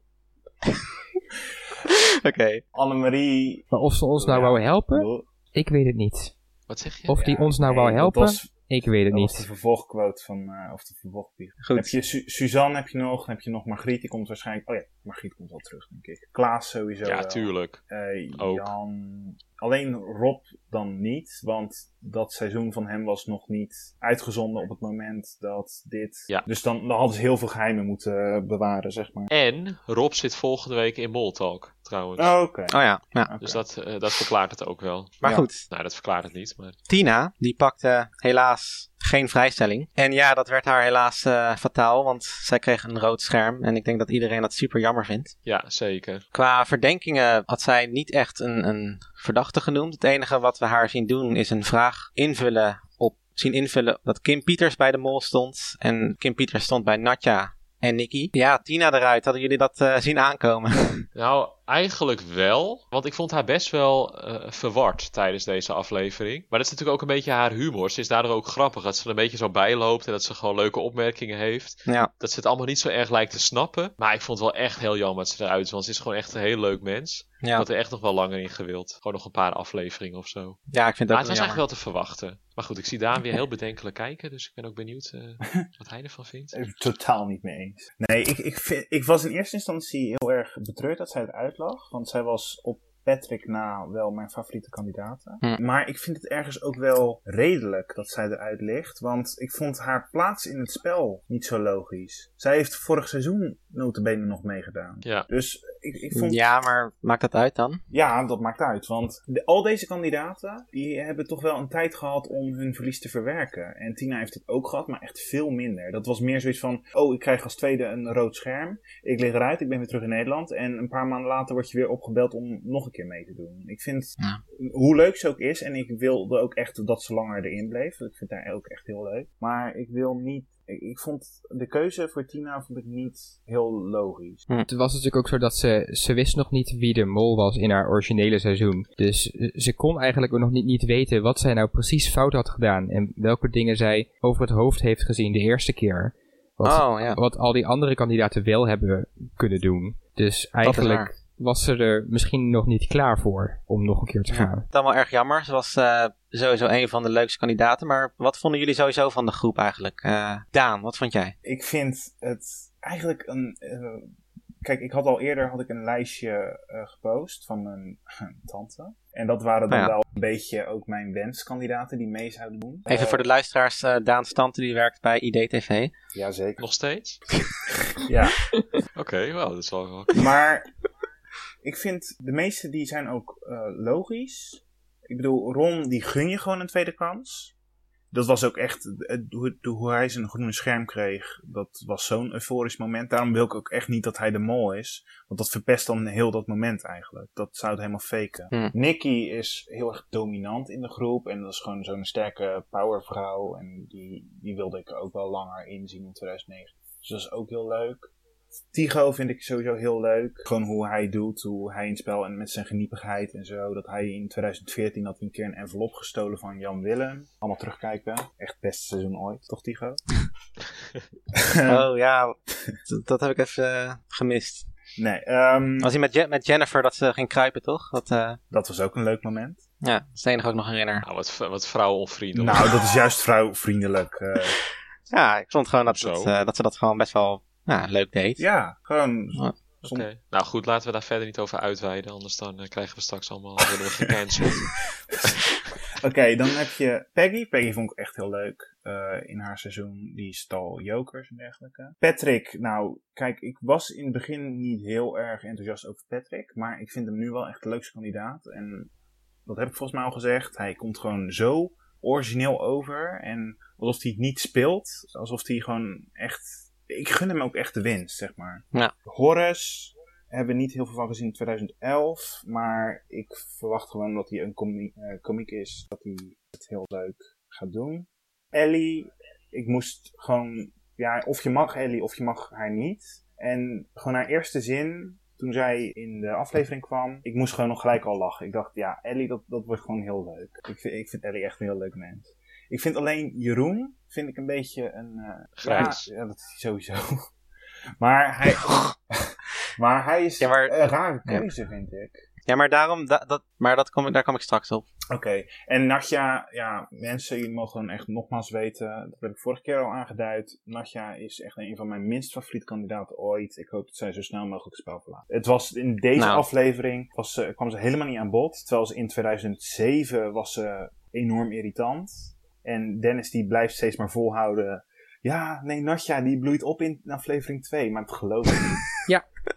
Oké.
Annemarie.
Maar of ze ons nou
Ja,
wou helpen,
bedoel-
ik weet het niet.
Wat zeg je?
Of die ons nou
nee,
wou helpen,
Dat was,
ik weet het
dat was de
niet.
vervolgquote van. eh, of de vervolgpier.
Goed.
Heb je Su- Suzanne heb je nog. Dan heb je nog Margriet, die komt waarschijnlijk. Oh ja, Margriet komt wel terug, denk ik. Klaas sowieso.
Ja,
wel.
tuurlijk.
Eh,
Ook.
Jan. Alleen Rob dan niet, want dat seizoen van hem was nog niet uitgezonden op het moment dat dit.
Ja.
Dus dan, dan hadden ze heel veel geheimen moeten eh, bewaren, zeg maar.
En Rob zit volgende week in Moltalk, trouwens.
Oh, Oké.
Oh ja, ja.
Oké.
Dus dat, eh, dat verklaart het ook wel.
Maar
Ja.
goed,
Nou, dat verklaart het niet, maar...
Tina, die pakte helaas geen vrijstelling. En ja, dat werd haar helaas eh, fataal, want zij kreeg een rood scherm. En ik denk dat iedereen dat super jammer vindt.
Ja, zeker.
Qua verdenkingen had zij niet echt een, een verdachte genoemd. Het enige wat we haar zien doen is een vraag invullen op zien invullen dat Kim Pieters bij de mol stond. En Kim Pieters stond bij Natja en Nicky. Ja, Tina eruit. Hadden jullie dat eh, zien aankomen?
Nou, eigenlijk wel. Want ik vond haar best wel eh, verward tijdens deze aflevering. Maar dat is natuurlijk ook een beetje haar humor. Ze is daardoor ook grappig. Dat ze er een beetje zo bij loopt en dat ze gewoon leuke opmerkingen heeft.
ja.
Dat ze het allemaal niet zo erg lijkt te snappen. Maar ik vond het wel echt heel jammer dat ze eruit is. Want ze is gewoon echt een heel leuk mens. Ik
Ja.
had er echt nog wel langer in gewild. Gewoon nog een paar afleveringen of zo.
ja,
maar
ik vind dat
het was
wel jammer.
eigenlijk wel te verwachten. Maar goed, ik zie Daan weer heel bedenkelijk kijken. Dus ik ben ook benieuwd eh, wat hij ervan vindt.
Eh, Totaal niet mee eens. Nee, ik, ik, vind, ik was in eerste instantie heel erg betreurd dat zij eruit lag. Want zij was op Patrick na wel mijn favoriete kandidaten.
Hm.
Maar ik vind het ergens ook wel redelijk dat zij eruit ligt. Want ik vond haar plaats in het spel niet zo logisch. Zij heeft vorig seizoen notabene nog meegedaan.
Ja.
Dus ik, ik vond
Ja, maar maakt dat uit dan?
Ja, dat maakt uit. Want de- al deze kandidaten die hebben toch wel een tijd gehad om hun verlies te verwerken. En Tina heeft het ook gehad, maar echt veel minder. Dat was meer zoiets van: oh, ik krijg als tweede een rood scherm. Ik lig eruit, ik ben weer terug in Nederland. En een paar maanden later word je weer opgebeld om nog een keer mee te doen. Ik vind,
Ja.
hoe leuk ze ook is, en ik wilde ook echt dat ze langer erin bleef. Ik vind haar ook echt heel leuk. Maar ik wil niet. Ik, ik vond de keuze voor Tina vond ik niet heel logisch.
Het was natuurlijk ook zo dat ze, ze wist nog niet wie de mol was in haar originele seizoen. Dus eh, ze kon eigenlijk ook nog niet, niet weten wat zij nou precies fout had gedaan. En welke dingen zij over het hoofd heeft gezien de eerste keer. Wat,
Oh, ja.
wat al die andere kandidaten wel hebben kunnen doen. Dus eigenlijk
waar.
was ze er misschien nog niet klaar voor om nog een keer te gaan.
Dat wel erg jammer. Ze was eh, sowieso een van de leukste kandidaten. Maar wat vonden jullie sowieso van de groep eigenlijk? Eh, Daan, wat vond jij?
ik vind het eigenlijk een. eh, kijk, ik had al eerder had ik een lijstje eh, gepost van mijn tante. En dat waren dan
Nou ja.
wel een beetje ook mijn wenskandidaten die mee zouden doen.
Even voor de luisteraars, eh Daan Stante die werkt bij IDTV.
Jazeker.
Nog steeds?
Ja.
Oké, wauw, dat is wel wel-
Maar ik vind de meeste die zijn ook eh, logisch. Ik bedoel, Ron die gun je gewoon een tweede kans. Dat was ook echt, eh, hoe, hoe hij zijn groene scherm kreeg, dat was zo'n euforisch moment. Daarom wil ik ook echt niet dat hij de mol is. Want dat verpest dan heel dat moment eigenlijk. Dat zou het helemaal faken.
Hmm.
Nikki is heel erg dominant in de groep. En dat is gewoon zo'n sterke powervrouw. En die, die wilde ik ook wel langer inzien in 2009. Dus dat is ook heel leuk. Tigo vind ik sowieso heel leuk. Gewoon hoe hij doet, hoe hij in het spel en met zijn geniepigheid en zo. Dat hij in 2014 had hij een keer een envelop gestolen van Jan Willem. Allemaal terugkijken. Echt beste seizoen ooit, toch Tigo?
Oh ja, dat- dat heb ik even eh, gemist.
Nee, ehm,
Was hij met, Je- met Jennifer dat ze ging kruipen, toch? Dat, eh,
dat was ook een leuk moment.
ja, dat is het enige wat ik nog herinner.
nou, wat, v- wat vrouwenonvriendelijk.
Nou, dat is juist vrouwvriendelijk. eh.
Ja, ik vond gewoon dat,
Zo.
dat, eh, dat ze dat gewoon best wel ja, leuk deed.
ja, gewoon
Oké. Nou goed, laten we daar verder niet over uitweiden. Anders dan eh, krijgen we straks allemaal worden we gecanceld.
Oké, dan heb je Peggy. Peggy vond ik echt heel leuk eh, in haar seizoen. Die stal jokers en dergelijke. Patrick, nou, kijk, ik was in het begin niet heel erg enthousiast over Patrick. Maar ik vind hem nu wel echt de leukste kandidaat. En dat heb ik volgens mij al gezegd. Hij komt gewoon zo origineel over. En alsof hij het niet speelt. Alsof hij gewoon echt... Ik gun hem ook echt de winst, zeg maar.
Ja.
Horace hebben we niet heel veel van gezien in 2011. Maar ik verwacht gewoon dat hij een comie- eh, komiek is. Dat hij het heel leuk gaat doen. Ellie, ik moest gewoon... Ja, of je mag Ellie of je mag haar niet. En gewoon haar eerste zin, toen zij in de aflevering kwam... Ik moest gewoon nog gelijk al lachen. Ik dacht, ja, Ellie, dat, dat wordt gewoon heel leuk. Ik vind, ik vind Ellie echt een heel leuk mens. Ik vind alleen Jeroen, vind ik een beetje een... eh,
Grijs.
Ja, ja, dat is hij sowieso. Maar hij, maar hij is
Ja, maar-
een rare keuze, vind ik.
Ja, maar, daarom, da- dat, maar dat kom, ik- daar kom ik straks op.
Oké, en Natja, ja, mensen, jullie mogen hem echt nogmaals weten. Dat heb ik vorige keer al aangeduid. Natja is echt een van mijn minst favoriete kandidaten ooit. Ik hoop dat zij zo snel mogelijk het spel verlaat. Het was in deze
Nou.
aflevering, was ze, kwam ze helemaal niet aan bod. Terwijl ze in 2007 was ze enorm irritant. En Dennis die blijft steeds maar volhouden. Ja, nee, Natja, die bloeit op in aflevering 2. Maar het geloof ik niet.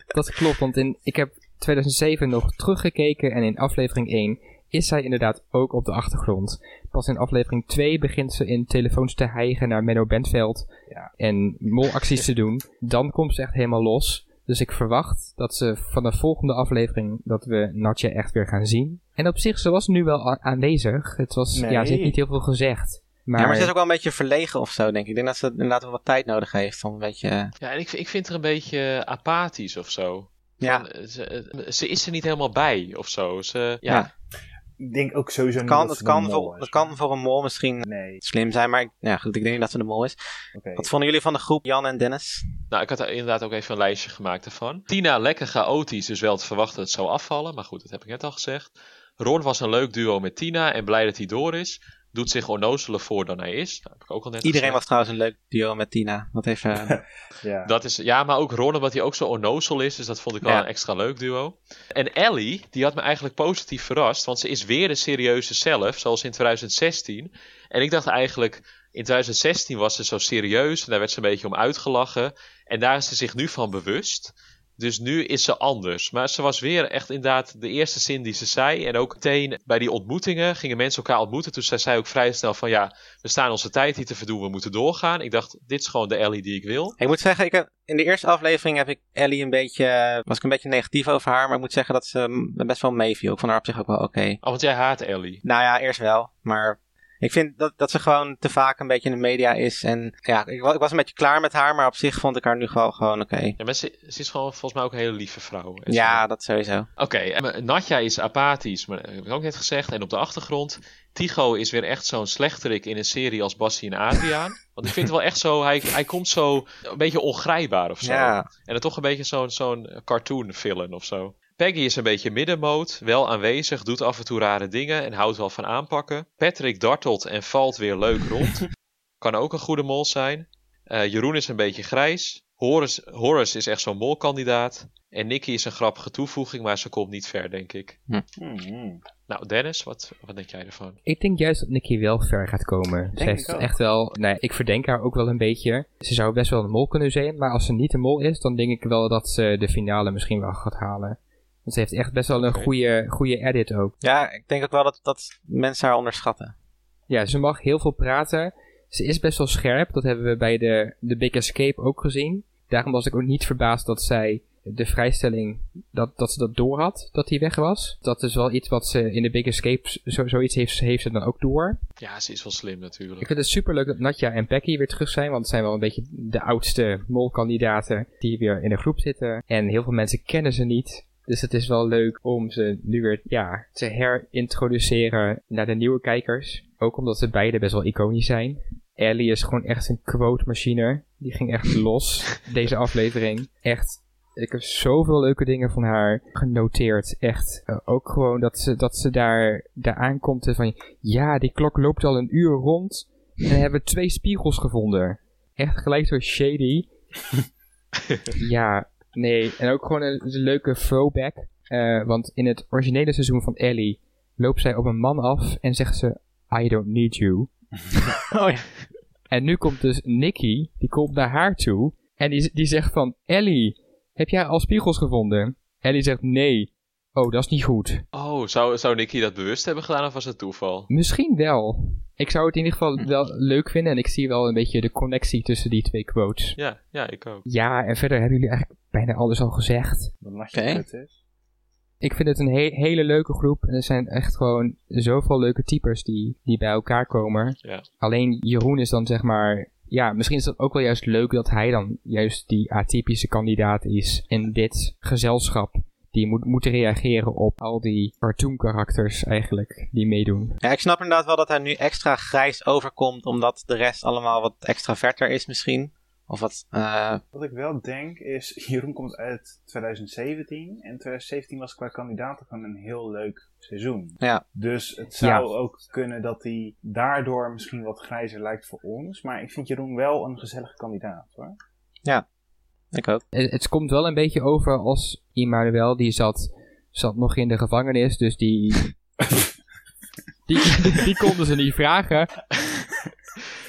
Dat klopt, want in, ik heb 2007 nog teruggekeken en in aflevering 1 is zij inderdaad ook op de achtergrond. Pas in aflevering 2 begint ze in telefoons te hijgen naar Menno Bentveld
Ja.
en molacties te doen. Dan komt ze echt helemaal los. Dus ik verwacht dat ze van de volgende aflevering dat we Natja echt weer gaan zien. En op zich, ze was nu wel a- aanwezig. Het was,
Nee.
ja, ze heeft niet heel veel gezegd. Maar,
Ja, maar ze is ook wel een beetje verlegen of zo, denk ik. Ik denk dat ze inderdaad wel wat tijd nodig heeft om een beetje... eh,
Ja, en ik, ik vind haar een beetje eh, apathisch of zo.
ja,
Van, eh, ze, eh, ze is er niet helemaal bij of zo. Ze, ja,
Ja.
Ik denk ook sowieso niet
kan,
dat
het,
ze de
kan
mol
voor,
is.
het kan voor een mol misschien
Nee,
slim zijn, maar ik- ja, goed, ik denk niet dat ze de mol is.
oké.
Wat vonden jullie van de groep Jan en Dennis?
Nou, ik had daar inderdaad ook even een lijstje gemaakt daarvan. Tina lekker chaotisch, dus wel te verwachten dat het zou afvallen. Maar goed, dat heb ik net al gezegd. Ron was een leuk duo met Tina en blij dat hij door is. Doet zich onnozeler voor dan hij is. eh, Dat heb ik ook al net
Iedereen
gezegd.
was trouwens een leuk duo met Tina. Dat heeft... eh,
Ja.
Dat is, ja, maar ook Ron, omdat hij ook zo onnozel is. Dus dat vond ik wel
Ja.
een extra leuk duo. En Ellie, die had me eigenlijk positief verrast. Want ze is weer de serieuze zelf, zoals in 2016. En ik dacht eigenlijk, in 2016 was ze zo serieus. En daar werd ze een beetje om uitgelachen. En daar is ze zich nu van bewust. Dus nu is ze anders. Maar ze was weer echt inderdaad de eerste zin die ze zei. En ook meteen bij die ontmoetingen gingen mensen elkaar ontmoeten. Toen zei zij ook vrij snel van ja, we staan onze tijd hier te verdoen, we moeten doorgaan. Ik dacht, dit is gewoon de Ellie die ik wil.
Ik moet zeggen, ik heb, in de eerste aflevering heb ik Ellie een beetje, eh, was ik een beetje negatief over haar. Maar ik moet zeggen dat ze mm, best wel meeviel. Ik vond haar op zich ook wel oké.
Oh, want jij haat Ellie.
Nou ja, eerst wel. Maar ik vind dat, dat ze gewoon te vaak een beetje in de media is. En ja, ik, wa- ik was een beetje klaar met haar. Maar op zich vond ik haar nu gewoon, gewoon oké.
Ja, maar ze, ze is gewoon volgens mij ook een hele lieve vrouw. En ze-
Dus Ja, dat sowieso.
Oké, en Natja is apathisch, maar dat heb ik ook net gezegd. En op de achtergrond, Tycho is weer echt zo'n slechterik in een serie als Bassie en Adriaan. Want ik vind het wel echt zo, hij, hij komt zo een beetje ongrijpbaar of zo.
Ja.
En dan toch een beetje zo'n zo'n cartoon villain of zo. Peggy is een beetje middenmoot, wel aanwezig, doet af en toe rare dingen en houdt wel van aanpakken. Patrick dartelt en valt weer leuk rond. kan ook een goede mol zijn. Eh, Jeroen is een beetje grijs. Horace, Horace is echt zo'n molkandidaat. En Nicky is een grappige toevoeging, maar ze komt niet ver, denk ik.
Hmm.
Nou, Dennis, wat, wat denk jij ervan?
Ik denk juist dat Nikki wel ver gaat komen. ze
ik
heeft
ook.
echt wel, nee, ik verdenk haar ook wel een beetje. Ze zou best wel een mol kunnen zijn, maar als ze niet een mol is, dan denk ik wel dat ze de finale misschien wel gaat halen. Want ze heeft echt best wel een
Oké.
goede, goede edit ook.
Ja, ik denk ook wel dat, dat mensen haar onderschatten.
Ja, ze mag heel veel praten. Ze is best wel scherp. Dat hebben we bij de, de Big Escape ook gezien. Daarom was ik ook niet verbaasd dat zij de vrijstelling, dat, dat ze dat door had, dat die weg was. Dat is wel iets wat ze in de Big Escape, zo, zoiets heeft, heeft ze dan ook door.
Ja, ze is wel slim
Ik
natuurlijk.
vind het superleuk dat Natja en Becky weer terug zijn, want het zijn wel een beetje de oudste molkandidaten die weer in de groep zitten. En heel veel mensen kennen ze niet. Dus het is wel leuk om ze nu weer ja, te herintroduceren naar de nieuwe kijkers. Ook omdat ze beide best wel iconisch zijn. Ellie is gewoon echt een quote machine. Die ging echt los, deze aflevering. Echt, ik heb zoveel leuke dingen van haar genoteerd. Echt, Eh, ook gewoon dat ze, dat ze daar, daar aankomt en van... Ja, die klok loopt al een uur rond. En hebben we twee spiegels gevonden. Echt gelijk zo shady. ja, nee. En ook gewoon een, een leuke throwback. Eh, want in het originele seizoen van Ellie loopt zij op een man af en zegt ze: I don't need you.
Oh ja.
En nu komt dus Nicky, die komt naar haar toe. En die, die zegt van, Ellie, heb jij al spiegels gevonden? Ellie zegt, nee. Oh, dat is niet goed.
Oh, zou, zou Nicky dat bewust hebben gedaan of was het toeval?
Misschien wel. Ik zou het in ieder geval wel leuk vinden. En ik zie wel een beetje de connectie tussen die twee quotes.
Ja, ja, ik ook.
Ja, en verder hebben jullie eigenlijk bijna alles al gezegd.
Dat Natja
Oké.
kut is.
Ik vind het een he- hele leuke groep. En er zijn echt gewoon zoveel leuke types die, die bij elkaar komen.
Ja.
Alleen Jeroen is dan zeg maar... Ja, misschien is dat ook wel juist leuk dat hij dan juist die atypische kandidaat is in dit gezelschap. Die moet, moet reageren op al die cartoon karakters eigenlijk die meedoen.
Ja, ik snap inderdaad wel dat hij nu extra grijs overkomt, omdat de rest allemaal wat extraverter is misschien. Of wat, eh,
Wat ik wel denk is, Jeroen komt uit 2017. En 2017 was qua kandidaten gewoon een heel leuk seizoen.
Ja.
Dus het zou ook kunnen dat hij daardoor misschien wat grijzer lijkt voor ons. Maar ik vind Jeroen wel een gezellige kandidaat hoor.
ik ook.
Eh, Het, het komt wel een beetje over als Immanuel, die zat, zat nog in de gevangenis, dus die... die, die konden ze niet vragen.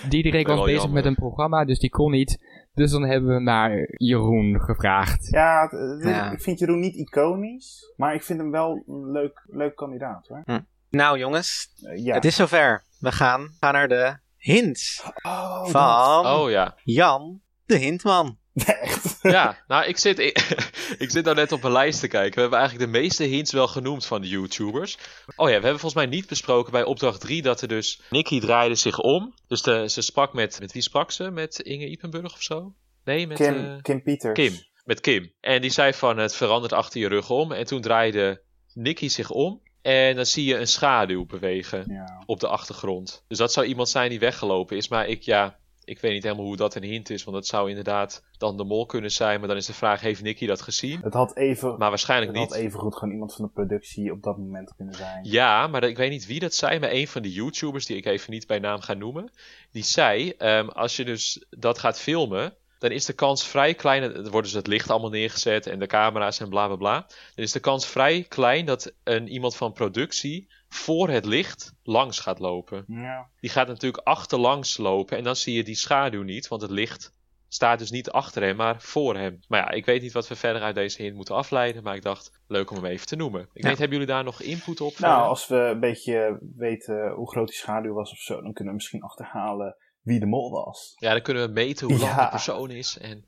Diederik was
Wel
bezig
jammer.
met een programma, dus die kon niet. Dus dan hebben we naar Jeroen gevraagd.
Ja, het- het-
Ja.
ik vind Jeroen niet iconisch. Maar ik vind hem wel een leuk, leuk kandidaat hoor.
Nou jongens,
Eh, ja.
het is zover. We gaan, gaan naar de hints
Oh, dat-
van
Oh ja.
Jan de Hintman.
Echt.
Ja, nou, ik zit, ik, zit nou net op een lijst te kijken. We hebben eigenlijk de meeste hints wel genoemd van de YouTubers. Oh ja, we hebben volgens mij niet besproken bij opdracht 3 dat er dus... Nicky draaide zich om. Dus de, ze sprak met... Met wie sprak ze? Met Inge Ipenburg of zo? Nee, met...
Kim,
eh,
Kim Pieters.
Kim. Met Kim. En die zei van het verandert achter je rug om. En toen draaide Nicky zich om. En dan zie je een schaduw bewegen
Ja.
op de achtergrond. Dus dat zou iemand zijn die weggelopen is. Maar ik, ja, ik weet niet helemaal hoe dat een hint is. Want dat zou inderdaad dan de mol kunnen zijn. Maar dan is de vraag, heeft Nicky dat gezien?
Het had even...
Maar waarschijnlijk
Het had
niet.
even goed gewoon iemand van de productie op dat moment kunnen zijn.
Ja, maar ik weet niet wie dat zei. Maar een van de YouTubers, die ik even niet bij naam ga noemen. Die zei, ehm, als je dus dat gaat filmen... Dan is de kans vrij klein, dan wordt dus het licht allemaal neergezet en de camera's en bla bla bla. Dan is de kans vrij klein dat een, iemand van productie voor het licht langs gaat lopen.
Ja.
Die gaat natuurlijk achterlangs lopen en dan zie je die schaduw niet, want het licht staat dus niet achter hem, maar voor hem. Maar ja, ik weet niet wat we verder uit deze hint moeten afleiden, maar ik dacht, leuk om hem even te noemen. Ik
Ja.
weet, hebben jullie daar nog input op?
Nou, als we een beetje weten hoe groot die schaduw was of zo, dan kunnen we misschien achterhalen wie de mol was.
Ja, dan kunnen we meten hoe lang
Ja.
de persoon is en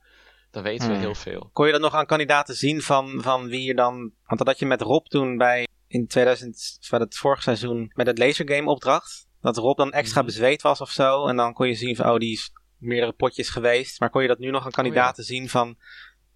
dan weten we
Hmm.
heel veel.
Kon je dat nog aan kandidaten zien van, van wie je dan... Want dat had je met Rob toen bij in 2000, bij het vorig seizoen, met het lasergame opdracht. Dat Rob dan extra
Mhm.
bezweet was of zo. En dan kon je zien van, oh, die is meerdere potjes geweest. Maar kon je dat nu
Oh,
nog aan kandidaten zien van...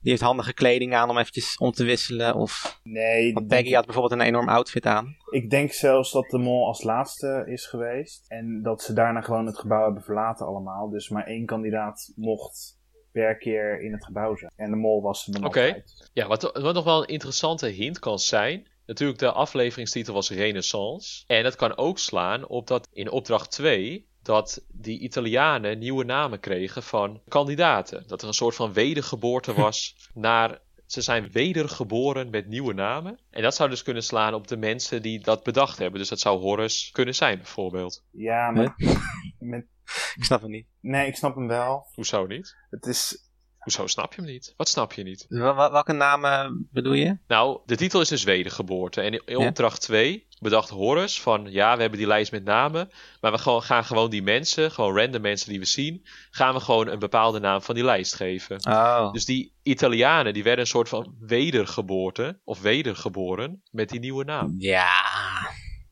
Die heeft handige kleding aan om eventjes om te wisselen. Of
Nee,
want Peggy had bijvoorbeeld een enorm outfit aan.
ik denk zelfs dat de mol als laatste is geweest. En dat ze daarna gewoon het gebouw hebben verlaten allemaal. Dus maar één kandidaat mocht per keer in het gebouw zijn. En de mol was er dan
Oké.
altijd.
Ja, wat, wat nog wel een interessante hint kan zijn. Natuurlijk, de afleveringstitel was Renaissance. En dat kan ook slaan op dat in opdracht 2 dat die Italianen nieuwe namen kregen van kandidaten. Dat er een soort van wedergeboorte was naar. Ze zijn wedergeboren met nieuwe namen. En dat zou dus kunnen slaan op de mensen die dat bedacht hebben. Dus dat zou Horus kunnen zijn, bijvoorbeeld.
Ja, maar... Met...
Ik snap het niet.
Nee, ik snap hem wel.
Hoezo niet?
Het is...
Hoezo snap je hem niet? Wat snap je niet?
Wa- wa- welke namen bedoel je?
Nou, de titel is dus Wedergeboorte. En in- in
Ja.
opdracht 2 bedacht Horus van... ja, we hebben die lijst met namen... maar we gewoon, gaan gewoon die mensen, gewoon random mensen die we zien... gaan we gewoon een bepaalde naam van die lijst geven.
Oh.
Dus die Italianen, die werden een soort van wedergeboorte... of wedergeboren met die nieuwe naam.
Ja.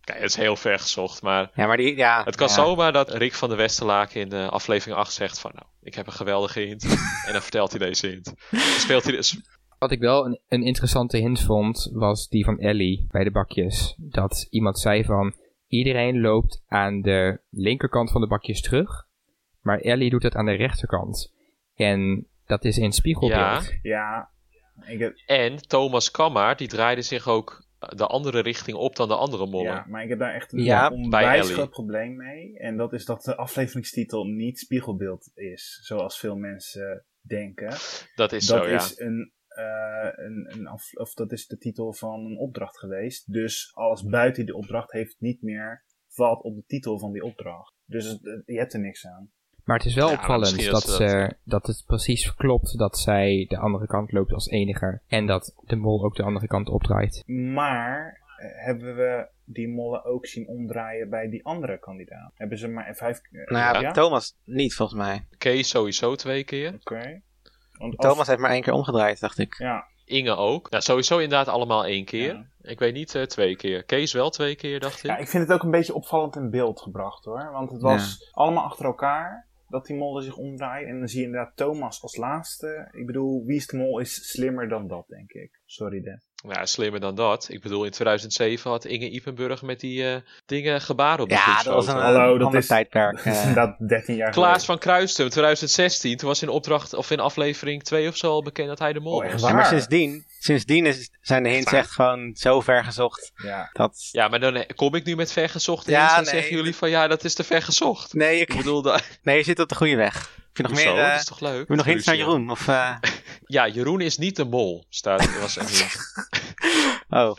Kijk, dat is heel ver gezocht, maar...
Ja, maar die... Ja,
Het kan
ja.
zomaar dat Rick van der Westerlaak in eh, aflevering 8 zegt van... nou, ik heb een geweldige hint. en dan vertelt hij deze hint. Dan Speelt hij dus...
Wat ik wel een, een interessante hint vond, was die van Ellie bij de bakjes. Dat iemand zei van, iedereen loopt aan de linkerkant van de bakjes terug, maar Ellie doet dat aan de rechterkant. En dat is in het spiegelbeeld.
Ja, ik heb...
En Thomas Kammer, die draaide zich ook de andere richting op dan de andere mollen.
Ja, maar ik heb daar echt een
Ja,
bij
onwijs
Ellie.
groot probleem mee. En dat is dat de afleveringstitel niet spiegelbeeld is, zoals veel mensen denken.
Dat is
dat
zo, ja.
is een, eh, een, een af- of dat is de titel van een opdracht geweest. Dus alles buiten die opdracht heeft niet meer valt op de titel van die opdracht. Dus het- je hebt er niks aan.
Maar het is wel
Ja, maar
opvallend
misschien
dat,
is dat-
ze, dat het precies klopt dat zij de andere kant loopt als enige. En dat de mol ook de andere kant opdraait.
Maar eh, hebben we die mollen ook zien omdraaien bij die andere kandidaat? Hebben ze maar vijf keer?
Nou ja,
ja?
Thomas niet volgens mij.
Kees sowieso twee keer.
Oké. Want als-
Thomas heeft maar één keer omgedraaid, dacht ik.
Ja,
Inge ook. Nou, sowieso inderdaad allemaal één keer.
Ja.
Ik weet niet, eh, twee keer. Kees wel twee keer, dacht ik.
ja, ik vind het ook een beetje opvallend in beeld gebracht hoor. Want het was allemaal achter elkaar dat die mollen zich omdraaien. En dan zie je inderdaad Thomas als laatste. Ik bedoel, wie is de mol is slimmer dan dat, denk ik. Sorry, Dan.
Nou, slimmer dan dat. Ik bedoel, in 2007 had Inge Ipenburg met die eh, dingen gebaren op de
Ja, dat
groepsfoto.
was een
Hallo,
eh,
dat
ander
is-
tijdperk.
Dat is
eh.
inderdaad 13 jaar
Klaas
geleden.
van Kruistum, 2016. Toen was in opdracht, of in aflevering 2 of zo al bekend dat hij de mol
Oh, echt
was.
waar?
Ja, maar sindsdien, sindsdien is, zijn de hints echt gewoon zo ver gezocht
Ja.
dat...
Ja, maar dan eh, kom ik nu met vergezocht.
Ja,
Ja, dan
nee.
zeggen jullie van ja, dat is te vergezocht.
Nee,
Ik
je,
bedoel, daar.
nee, je zit op de goede weg. Heb je nog
Hoezo?
meer... eh,
dat is toch leuk?
heb je nog hints naar
Ruzie.
Jeroen? Of, eh,
Ja, Jeroen is niet de mol, staat er was een hint.
oh.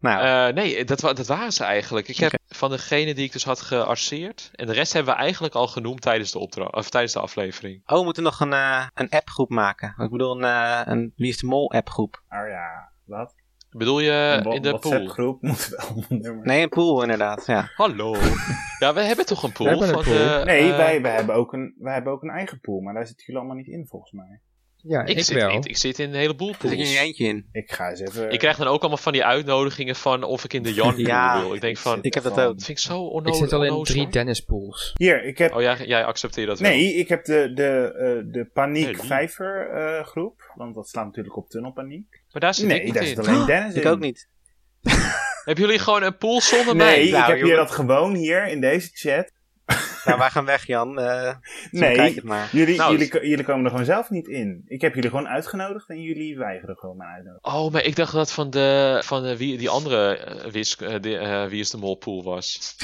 Nou,
Eh, nee, dat, wa- dat waren ze eigenlijk. Ik heb van degene die ik dus had gearseerd. En de rest hebben we eigenlijk al genoemd tijdens de, opdra- of tijdens de aflevering.
oh, we moeten nog een, eh, een appgroep maken. Ik bedoel, een, eh, een Wie is de Mol appgroep.
Ah ja, wat?
Bedoel je
Een wa-
Eh, in de pool?
WhatsApp-groep moet wel een nummer.
Nee, een pool inderdaad, ja.
Hallo. ja, we hebben toch een pool?
hebben een
van
pool.
de,
Nee,
eh,
wij, wij, hebben ook een, wij hebben ook een eigen pool, maar daar zitten jullie allemaal niet in volgens mij.
Ja,
ik,
ik,
zit,
wel.
Ik, ik zit in een heleboel
Daar zit je nu
pools.
eentje in.
Ik ga eens even...
Ik krijg dan ook allemaal van die uitnodigingen van of ik in de Jan pool
Ja.
wil. Ik denk van,
Ik heb dat
Van-
ook.
dat vind ik zo onnodig.
Ik zit al in
onnozel.
drie tennispools.
Hier, ik heb...
Oh, jij, jij accepteert dat wel?
Nee, ik heb de, de, eh, de
Nee,
Paniek
die.
Vijver eh, groep, want dat slaat natuurlijk op Tunnelpaniek.
Maar daar zit ik
Nee,
niet
daar
in.
zit alleen Dennis in.
Ik ook niet.
Hebben jullie gewoon een pool zonder mij?
Nee, ik
Nou,
heb hier
jongen.
dat gewoon hier in deze chat.
Nou, wij gaan weg, Jan. Eh, zo Kijk
Nee,
het maar.
jullie,
Nou,
jullie, jullie komen er gewoon zelf niet in. Ik heb jullie gewoon uitgenodigd en jullie weigeren gewoon mijn uitnodiging.
Oh, maar ik dacht dat van de, van de, wie, die andere eh, wis, eh, de, eh, Wie is de Mol pool was.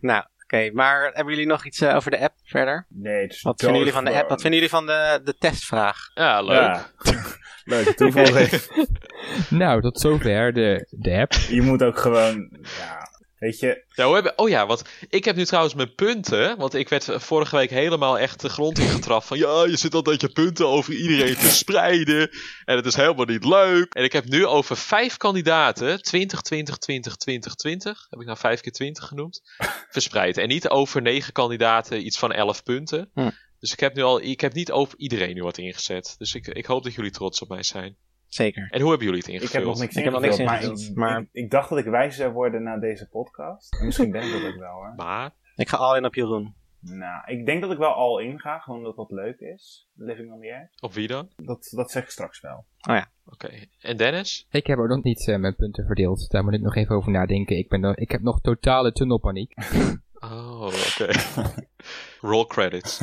Nou, oké. maar hebben jullie nog iets eh, over de app verder?
Nee, het is
Wat vinden jullie van de
doodgewoon.
app? Wat vinden jullie van de, de testvraag?
Ja, leuk.
Ja. Leuk, toevallig.
Nou, tot zover de, de app.
Je moet ook gewoon. Ja, Weet je,
Ja, we hebben, oh ja, want ik heb nu trouwens mijn punten. Want ik werd vorige week helemaal echt de grond in getrapt. Van ja, je zit altijd je punten over iedereen te spreiden. En het is helemaal niet leuk. En ik heb nu over vijf kandidaten. 20, 20, 20, 20, 20. Heb ik nou vijf keer 20 genoemd? Verspreid. En niet over negen kandidaten iets van elf punten.
Hm.
Dus ik heb nu al, ik heb niet over iedereen nu wat ingezet. Dus ik, ik hoop dat jullie trots op mij zijn.
Zeker.
En hoe hebben jullie het ingevuld?
ik heb nog niks
Ik heb nog niks ingevuld, maar-
maar ik, ik dacht dat ik wijzer zou worden na deze podcast. En misschien ben ik dat ook wel hoor.
Maar,
Ik ga al in op Jeroen.
Nou, ik denk dat ik wel al in ga, gewoon omdat dat leuk is. Living on the Edge.
op wie dan?
Dat, dat zeg ik straks wel.
Oké. En Dennis?
Ik heb ook nog niet eh, mijn punten verdeeld. Daar moet ik nog even over nadenken. Ik, ben nog, ik heb nog totale tunnelpaniek.
Oh, oké. Roll credits.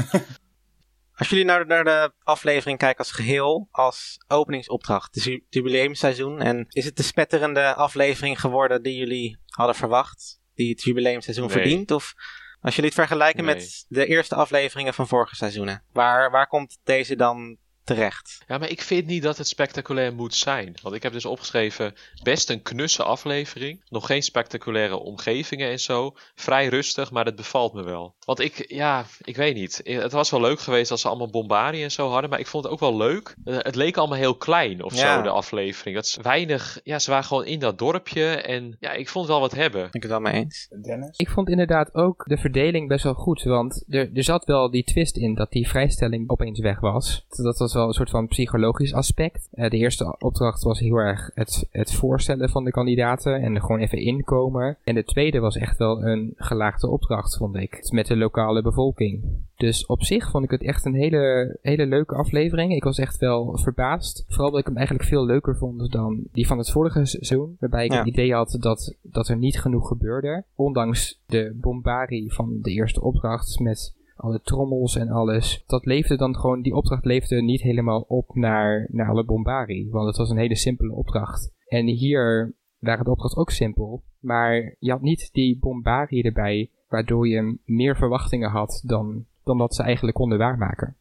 Als jullie nou naar de aflevering kijken als geheel, als openingsopdracht, het is ju- het jubileumseizoen. En is het de spetterende aflevering geworden die jullie hadden verwacht? Die het jubileumseizoen
Nee.
verdient? Of als jullie het vergelijken
Nee.
met de eerste afleveringen van vorige seizoenen, waar, waar komt deze dan terecht?
Ja, maar ik vind niet dat het spectaculair moet zijn. Want ik heb dus opgeschreven, best een knusse aflevering. Nog geen spectaculaire omgevingen en zo. Vrij rustig, maar dat bevalt me wel. Want ik, ja, ik weet niet. Eh, Het was wel leuk geweest als ze allemaal bombardie en zo hadden. Maar ik vond het ook wel leuk. Eh, Het leek allemaal heel klein of
Ja.
zo, de aflevering. Dat ze weinig, ja, ze waren gewoon in dat dorpje. En ja, ik vond het wel wat hebben.
Ben ik het wel mee eens?
Dennis?
Ik vond inderdaad ook de verdeling best wel goed. Want er, er zat wel die twist in dat die vrijstelling opeens weg was. Dat was wel een soort van psychologisch aspect. Eh, de eerste opdracht was heel erg het, het voorstellen van de kandidaten. En er gewoon even inkomen. En de tweede was echt wel een gelaagde opdracht, vond ik. Met de lokale bevolking. Dus op zich vond ik het echt een hele, hele leuke aflevering. Ik was echt wel verbaasd. Vooral dat ik hem eigenlijk veel leuker vond dan die van het vorige seizoen. Waarbij ik
Ja.
het idee had dat, dat er niet genoeg gebeurde. Ondanks de bombardie van de eerste opdracht met alle trommels en alles. Dat leefde dan gewoon, die opdracht leefde niet helemaal op naar, naar alle bombardie. Want het was een hele simpele opdracht. En hier waren de opdracht ook simpel. Maar je had niet die bombardie erbij, waardoor je meer verwachtingen had dan, dan dat ze eigenlijk konden waarmaken.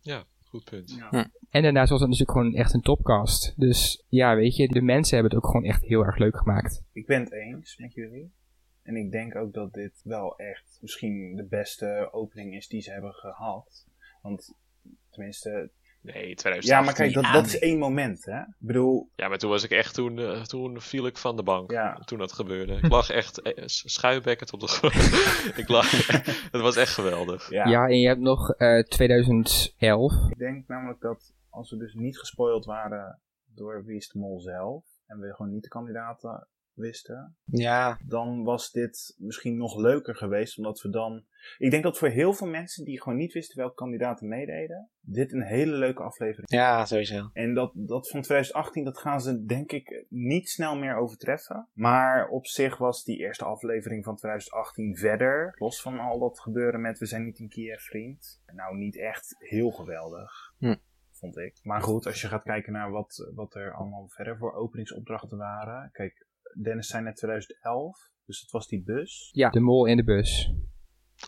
Goed punt.
En daarnaast was het natuurlijk gewoon echt een topcast. Dus ja, weet je, de mensen hebben het ook gewoon echt heel erg leuk gemaakt.
Ik ben het eens met jullie. En ik denk ook dat dit wel echt misschien de beste opening is die ze hebben gehad. Want tenminste.
Nee, 2000.
Ja, maar kijk, dat, dat is één moment, hè? Ik bedoel,
Ja, maar toen was ik echt, toen, eh, toen viel ik van de bank.
Ja.
Toen dat gebeurde. Ik lag echt eh, s- schuibekkend op de grond. ik lag, het was echt geweldig.
ja,
Ja, en je hebt nog eh 2011.
Ik denk namelijk dat als we dus niet gespoild waren door Wie is de Mol zelf. En we gewoon niet de kandidaten wisten.
Ja,
Dan was dit misschien nog leuker geweest. Omdat we dan. Ik denk dat voor heel veel mensen die gewoon niet wisten welke kandidaten meededen. Dit een hele leuke aflevering.
ja, sowieso.
En dat, dat van 2018, dat gaan ze denk ik niet snel meer overtreffen. Maar op zich was die eerste aflevering van 2018 verder. Los van al dat gebeuren met we zijn niet in Kiev vriend. Nou, niet echt heel geweldig.
Hm.
Vond ik. Maar goed, als je gaat kijken naar wat, wat er allemaal verder voor openingsopdrachten waren. Kijk, Dennis zei net 2011. Dus dat was die bus.
Ja, de mol in de bus.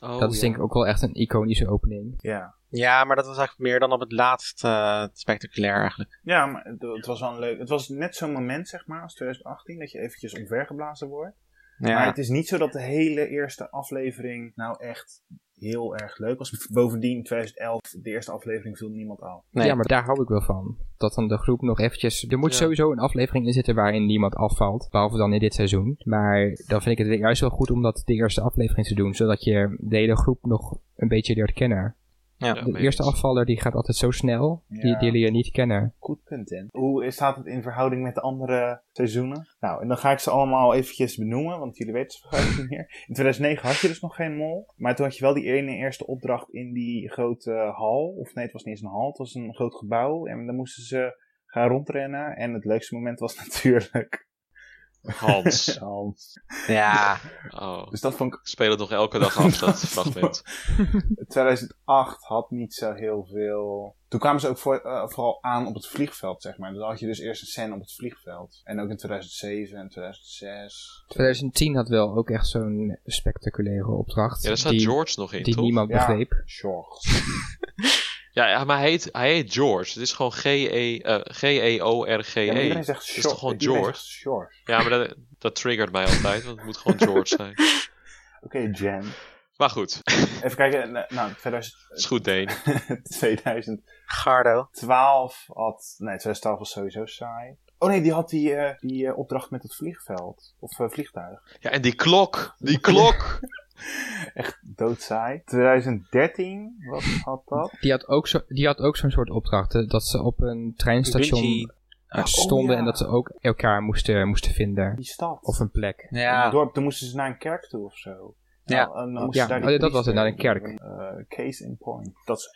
Oh,
dat is denk ik ook wel echt een iconische opening.
Ja.
Ja, maar dat was eigenlijk meer dan op het laatst eh, spectaculair eigenlijk.
Ja, maar het, het was wel een leuk. Het was net zo'n moment, zeg maar, als 2018. Dat je eventjes omvergeblazen wordt.
Ja.
Maar het is niet zo dat de hele eerste aflevering nou echt heel erg leuk was. Bovendien, 2011, de eerste aflevering viel niemand af.
Nee.
Ja, maar daar hou ik wel van. Dat dan de groep nog eventjes... Er moet
Ja.
sowieso een aflevering in zitten waarin niemand afvalt. Behalve dan in dit seizoen. Maar dan vind ik het juist wel goed om dat de eerste aflevering te doen. Zodat je de hele groep nog een beetje leert kennen.
Ja,
Ja,
de
mee
eerste
eens.
afvaller die gaat altijd zo snel. Die,
Ja.
die leer je niet kennen.
Goed punt, Dan. Hoe is- staat het in verhouding met de andere seizoenen? Nou, en dan ga ik ze allemaal eventjes benoemen, want jullie weten ze verhouding niet meer. In 2009 had je dus nog geen mol, maar toen had je wel die ene eerste opdracht in die grote hal. Of nee, het was niet eens een hal, het was een groot gebouw. En dan moesten ze gaan rondrennen. En het leukste moment was natuurlijk
Hans.
Hans.
ja.
Oh.
Dus dat vond ik
Ik speel het nog elke dag af, dat fragment.
2008 had niet zo heel veel. Toen kwamen ze ook voor, eh, vooral aan op het vliegveld, zeg maar. Dan had je dus eerst een scène op het vliegveld. En ook in 2007 en 2006.
2010 had wel ook echt zo'n spectaculaire opdracht.
Ja, daar staat
die,
George nog in,
Die
toch?
niemand
Ja.
begreep.
Sjors.
Ja, ja, maar hij heet, hij heet George. Het is gewoon G-E- eh, G-E-O-R-G-E.
Ja, maar iedereen
ja,
zegt
is
Sjors.
toch gewoon
Iedereen
George?
zegt Sjors.
maar dat, dat triggert mij altijd, want het moet gewoon George zijn.
Oké, Jam.
Maar goed,
Even kijken, eh, nou, 2000
is goed Deen.
2012
Gardo.
had... Nee, 2012 was sowieso saai. Oh nee, die had die, eh, die eh, opdracht met het vliegveld. Of eh, vliegtuig.
Ja, en die klok. Die klok.
Echt doodsaai. 2013 was, had dat.
Die had ook, zo, die had ook zo'n soort opdrachten. Dat ze op een treinstation
Vinci.
eh, stonden
ja.
en dat ze ook elkaar moesten, moesten vinden.
Die stad.
Of een plek.
Een
Ja,
dorp, toen moesten ze naar een kerk toe of zo.
Ja.
Nou, en dan moesten
Ja,
ze daar
oh
die
ja, dat was het, naar een
priester-
kerk.
eh, case in point. Dat is-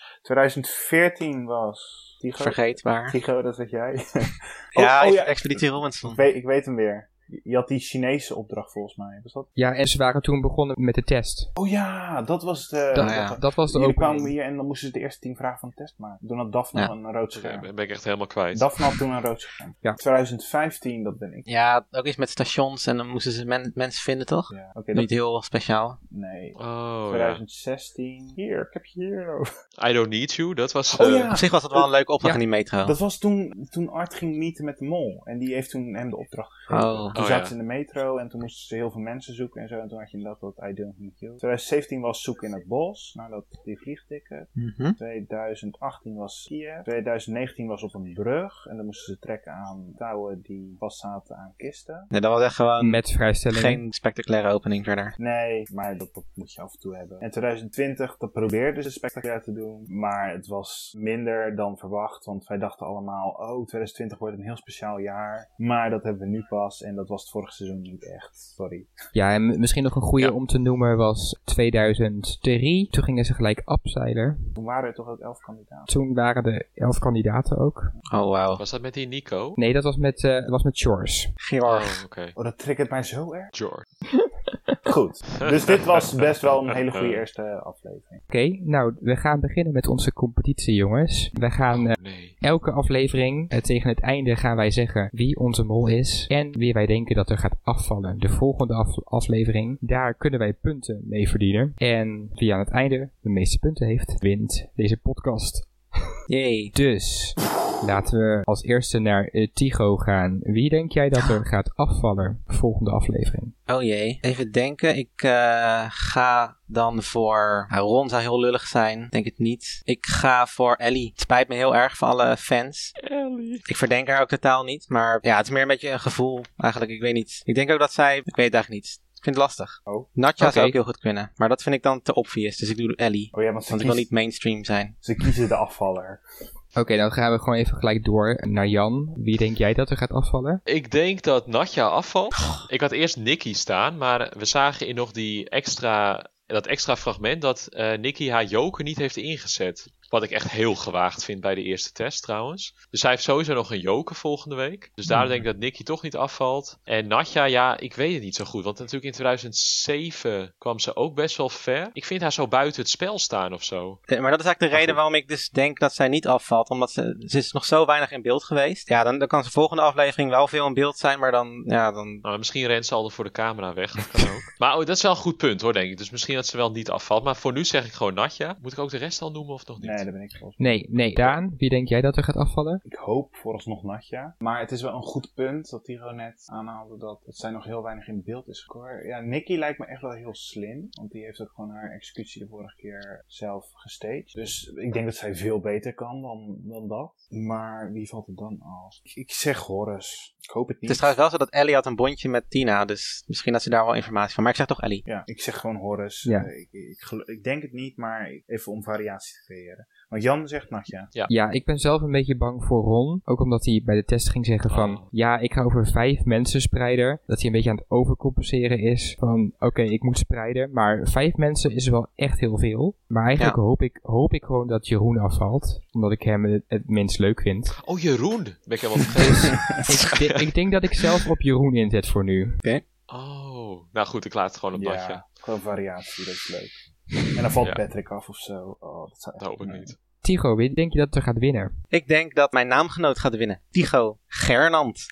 2014 was... Tigo,
vergeetbaar.
Tigo, dat zeg jij. Oh,
Ja,
oh
Expeditie Robinson.
Ik weet, ik weet hem weer. Je had die Chinese opdracht volgens mij. Was dat?
Ja, en ze waren toen begonnen met de test.
Oh ja, dat was de.
dat,
nou ja.
dat was de
Jullie kwamen
opening.
hier en dan moesten ze de eerste tien vragen van de test maken. Toen had Daphne
Ja.
een rood
Ja,
scherm.
ben ben ik echt helemaal kwijt.
Daphne had toen een rood scherm.
Ja.
2015, dat ben ik.
Ja, ook iets met stations en dan moesten ze men- mensen vinden, toch?
Ja. Oké, dat-
Niet heel speciaal.
nee.
Oh ja.
2016. Hier, ik heb je hier over.
I don't need you. Dat was...
Oh
eh,
ja.
Op zich was dat wel een leuke opdracht in die metro.
Dat was toen, toen Art ging meeten met de mol. En die heeft toen hem de opdracht gegeven.
Oh.
Toen
Oh,
zaten
ja.
ze in de metro en toen moesten ze heel veel mensen zoeken en zo. En toen had je inderdaad dat I don't need you. 2017 was zoeken in het bos. Nou, dat, die vliegticket.
Mhm.
2018 was Kiev. 2019 was op een brug. En dan moesten ze trekken aan touwen die vastzaten aan kisten.
Nee, dat was echt gewoon
Met vrijstelling.
geen spectaculaire opening verder.
Nee, maar dat, dat moet je af en toe hebben. En 2020, dat probeerden ze spectaculair te doen. Maar het was minder dan verwacht. Want wij dachten allemaal, oh, 2020 wordt een heel speciaal jaar. Maar dat hebben we nu pas. En dat was het vorige seizoen niet echt. Sorry.
Ja, en m- misschien nog een goede
Ja.
om te noemen was 2003. Toen gingen ze gelijk afzeilen.
Toen waren er toch ook elf kandidaten.
Toen waren er elf kandidaten ook.
Oh, wauw.
Was dat met die Nico?
Nee, dat was met, eh was met Shores.
Georg.
Oh, oké.
Oh, dat triggert mij zo erg.
George.
Goed. Dus dit was best wel een hele goede eerste aflevering.
Oké, nou, we gaan beginnen met onze competitie, jongens. We gaan eh,
Nee.
elke aflevering, eh, tegen het einde, gaan wij zeggen wie onze mol is en wie wij denken dat er gaat afvallen. De volgende af- aflevering, daar kunnen wij punten mee verdienen. En wie aan het einde de meeste punten heeft, wint deze podcast.
Jee.
Dus, laten we als eerste naar eh, Tigo gaan. Wie denk jij dat er gaat afvallen volgende aflevering?
Oh jee. Even denken. Ik eh, ga dan voor... Nou, Ron zou heel lullig zijn. Denk het niet. Ik ga voor Ellie. Het spijt me heel erg voor alle fans.
Ellie.
Ik verdenk haar ook totaal niet. Maar ja, het is meer een beetje een gevoel. Eigenlijk, ik weet niet. Ik denk ook dat zij... Ik weet het eigenlijk niet. Ik vind het lastig.
Oh.
Natja zou
Oké.
ook heel goed kunnen. Maar dat vind ik dan te obvious. Dus ik doe Ellie.
Oh ja, want ze,
Want ik wil
kiest,
niet mainstream zijn.
ze kiezen de afvaller.
Oké, dan gaan we gewoon even gelijk door naar Jan. Wie denk jij dat er gaat afvallen?
Ik denk dat Natja afvalt. Ik had eerst Nicky staan, maar we zagen in nog die extra, dat extra fragment dat eh Nicky haar joker niet heeft ingezet. Wat ik echt heel gewaagd vind bij de eerste test trouwens. Dus zij heeft sowieso nog een joker volgende week. Dus daar denk ik dat Nicky toch niet afvalt. En Natja, ja, ik weet het niet zo goed. Want natuurlijk in 2007 kwam ze ook best wel ver. Ik vind haar zo buiten het spel staan of zo.
Eh, Maar dat is eigenlijk de reden waarom ik dus denk dat zij niet afvalt. Omdat ze, ze is nog zo weinig in beeld geweest. Ja, dan, dan kan ze volgende aflevering wel veel in beeld zijn. Maar dan, ja, dan
Nou, misschien rent ze al voor de camera weg. Dat kan ook. maar oh, dat is wel een goed punt hoor, denk ik. Dus misschien dat ze wel niet afvalt. Maar voor nu zeg ik gewoon Natja. Moet ik ook de rest al noemen of nog niet?
Nee, daar ben ik volgens
Nee, nee. Daan, wie denk jij dat er gaat afvallen?
Ik hoop vooralsnog Natja. Maar het is wel een goed punt dat Tiro net aanhaalde dat het zij nog heel weinig in beeld is gekomen. Ja, Nikki lijkt me echt wel heel slim. Want die heeft ook gewoon haar executie de vorige keer zelf gestaged. Dus ik denk dat zij veel beter kan dan, dan dat. Maar wie valt er dan af? Ik, ik zeg Horus. Ik hoop het
Het
niet.
is trouwens wel zo dat Ellie had een bondje met Tina, dus misschien dat ze daar wel informatie van. Maar ik zeg toch Ellie.
Ja, ik zeg gewoon Horus.
Ja.
Eh, Ik, ik, gelo- ik denk het niet, maar even om variatie te creëren. Want Jan zegt Natja.
Ja, ik ben zelf een beetje bang voor Ron. Ook omdat hij bij de test ging zeggen van...
Oh.
Ja, ik ga over vijf mensen spreiden. Dat hij een beetje aan het overcompenseren is. Van, oké, ik moet spreiden. Maar vijf mensen is wel echt heel veel. Maar eigenlijk
Ja.
hoop, ik, hoop ik gewoon dat Jeroen afvalt. Omdat ik hem het, het minst leuk vind.
Oh, Jeroen. Ben ik helemaal vergeten.
ik, de- ik denk dat ik zelf op Jeroen inzet voor nu.
oh. Nou goed, ik laat het gewoon op Natja.
Ja, gewoon variatie, dat is leuk. En dan valt
Ja.
Patrick af of zo. Oh, dat zou
Dat hoop ik niet.
Tigo, wie denk je dat er gaat winnen?
Ik denk dat mijn naamgenoot gaat winnen. Tigo Gernand.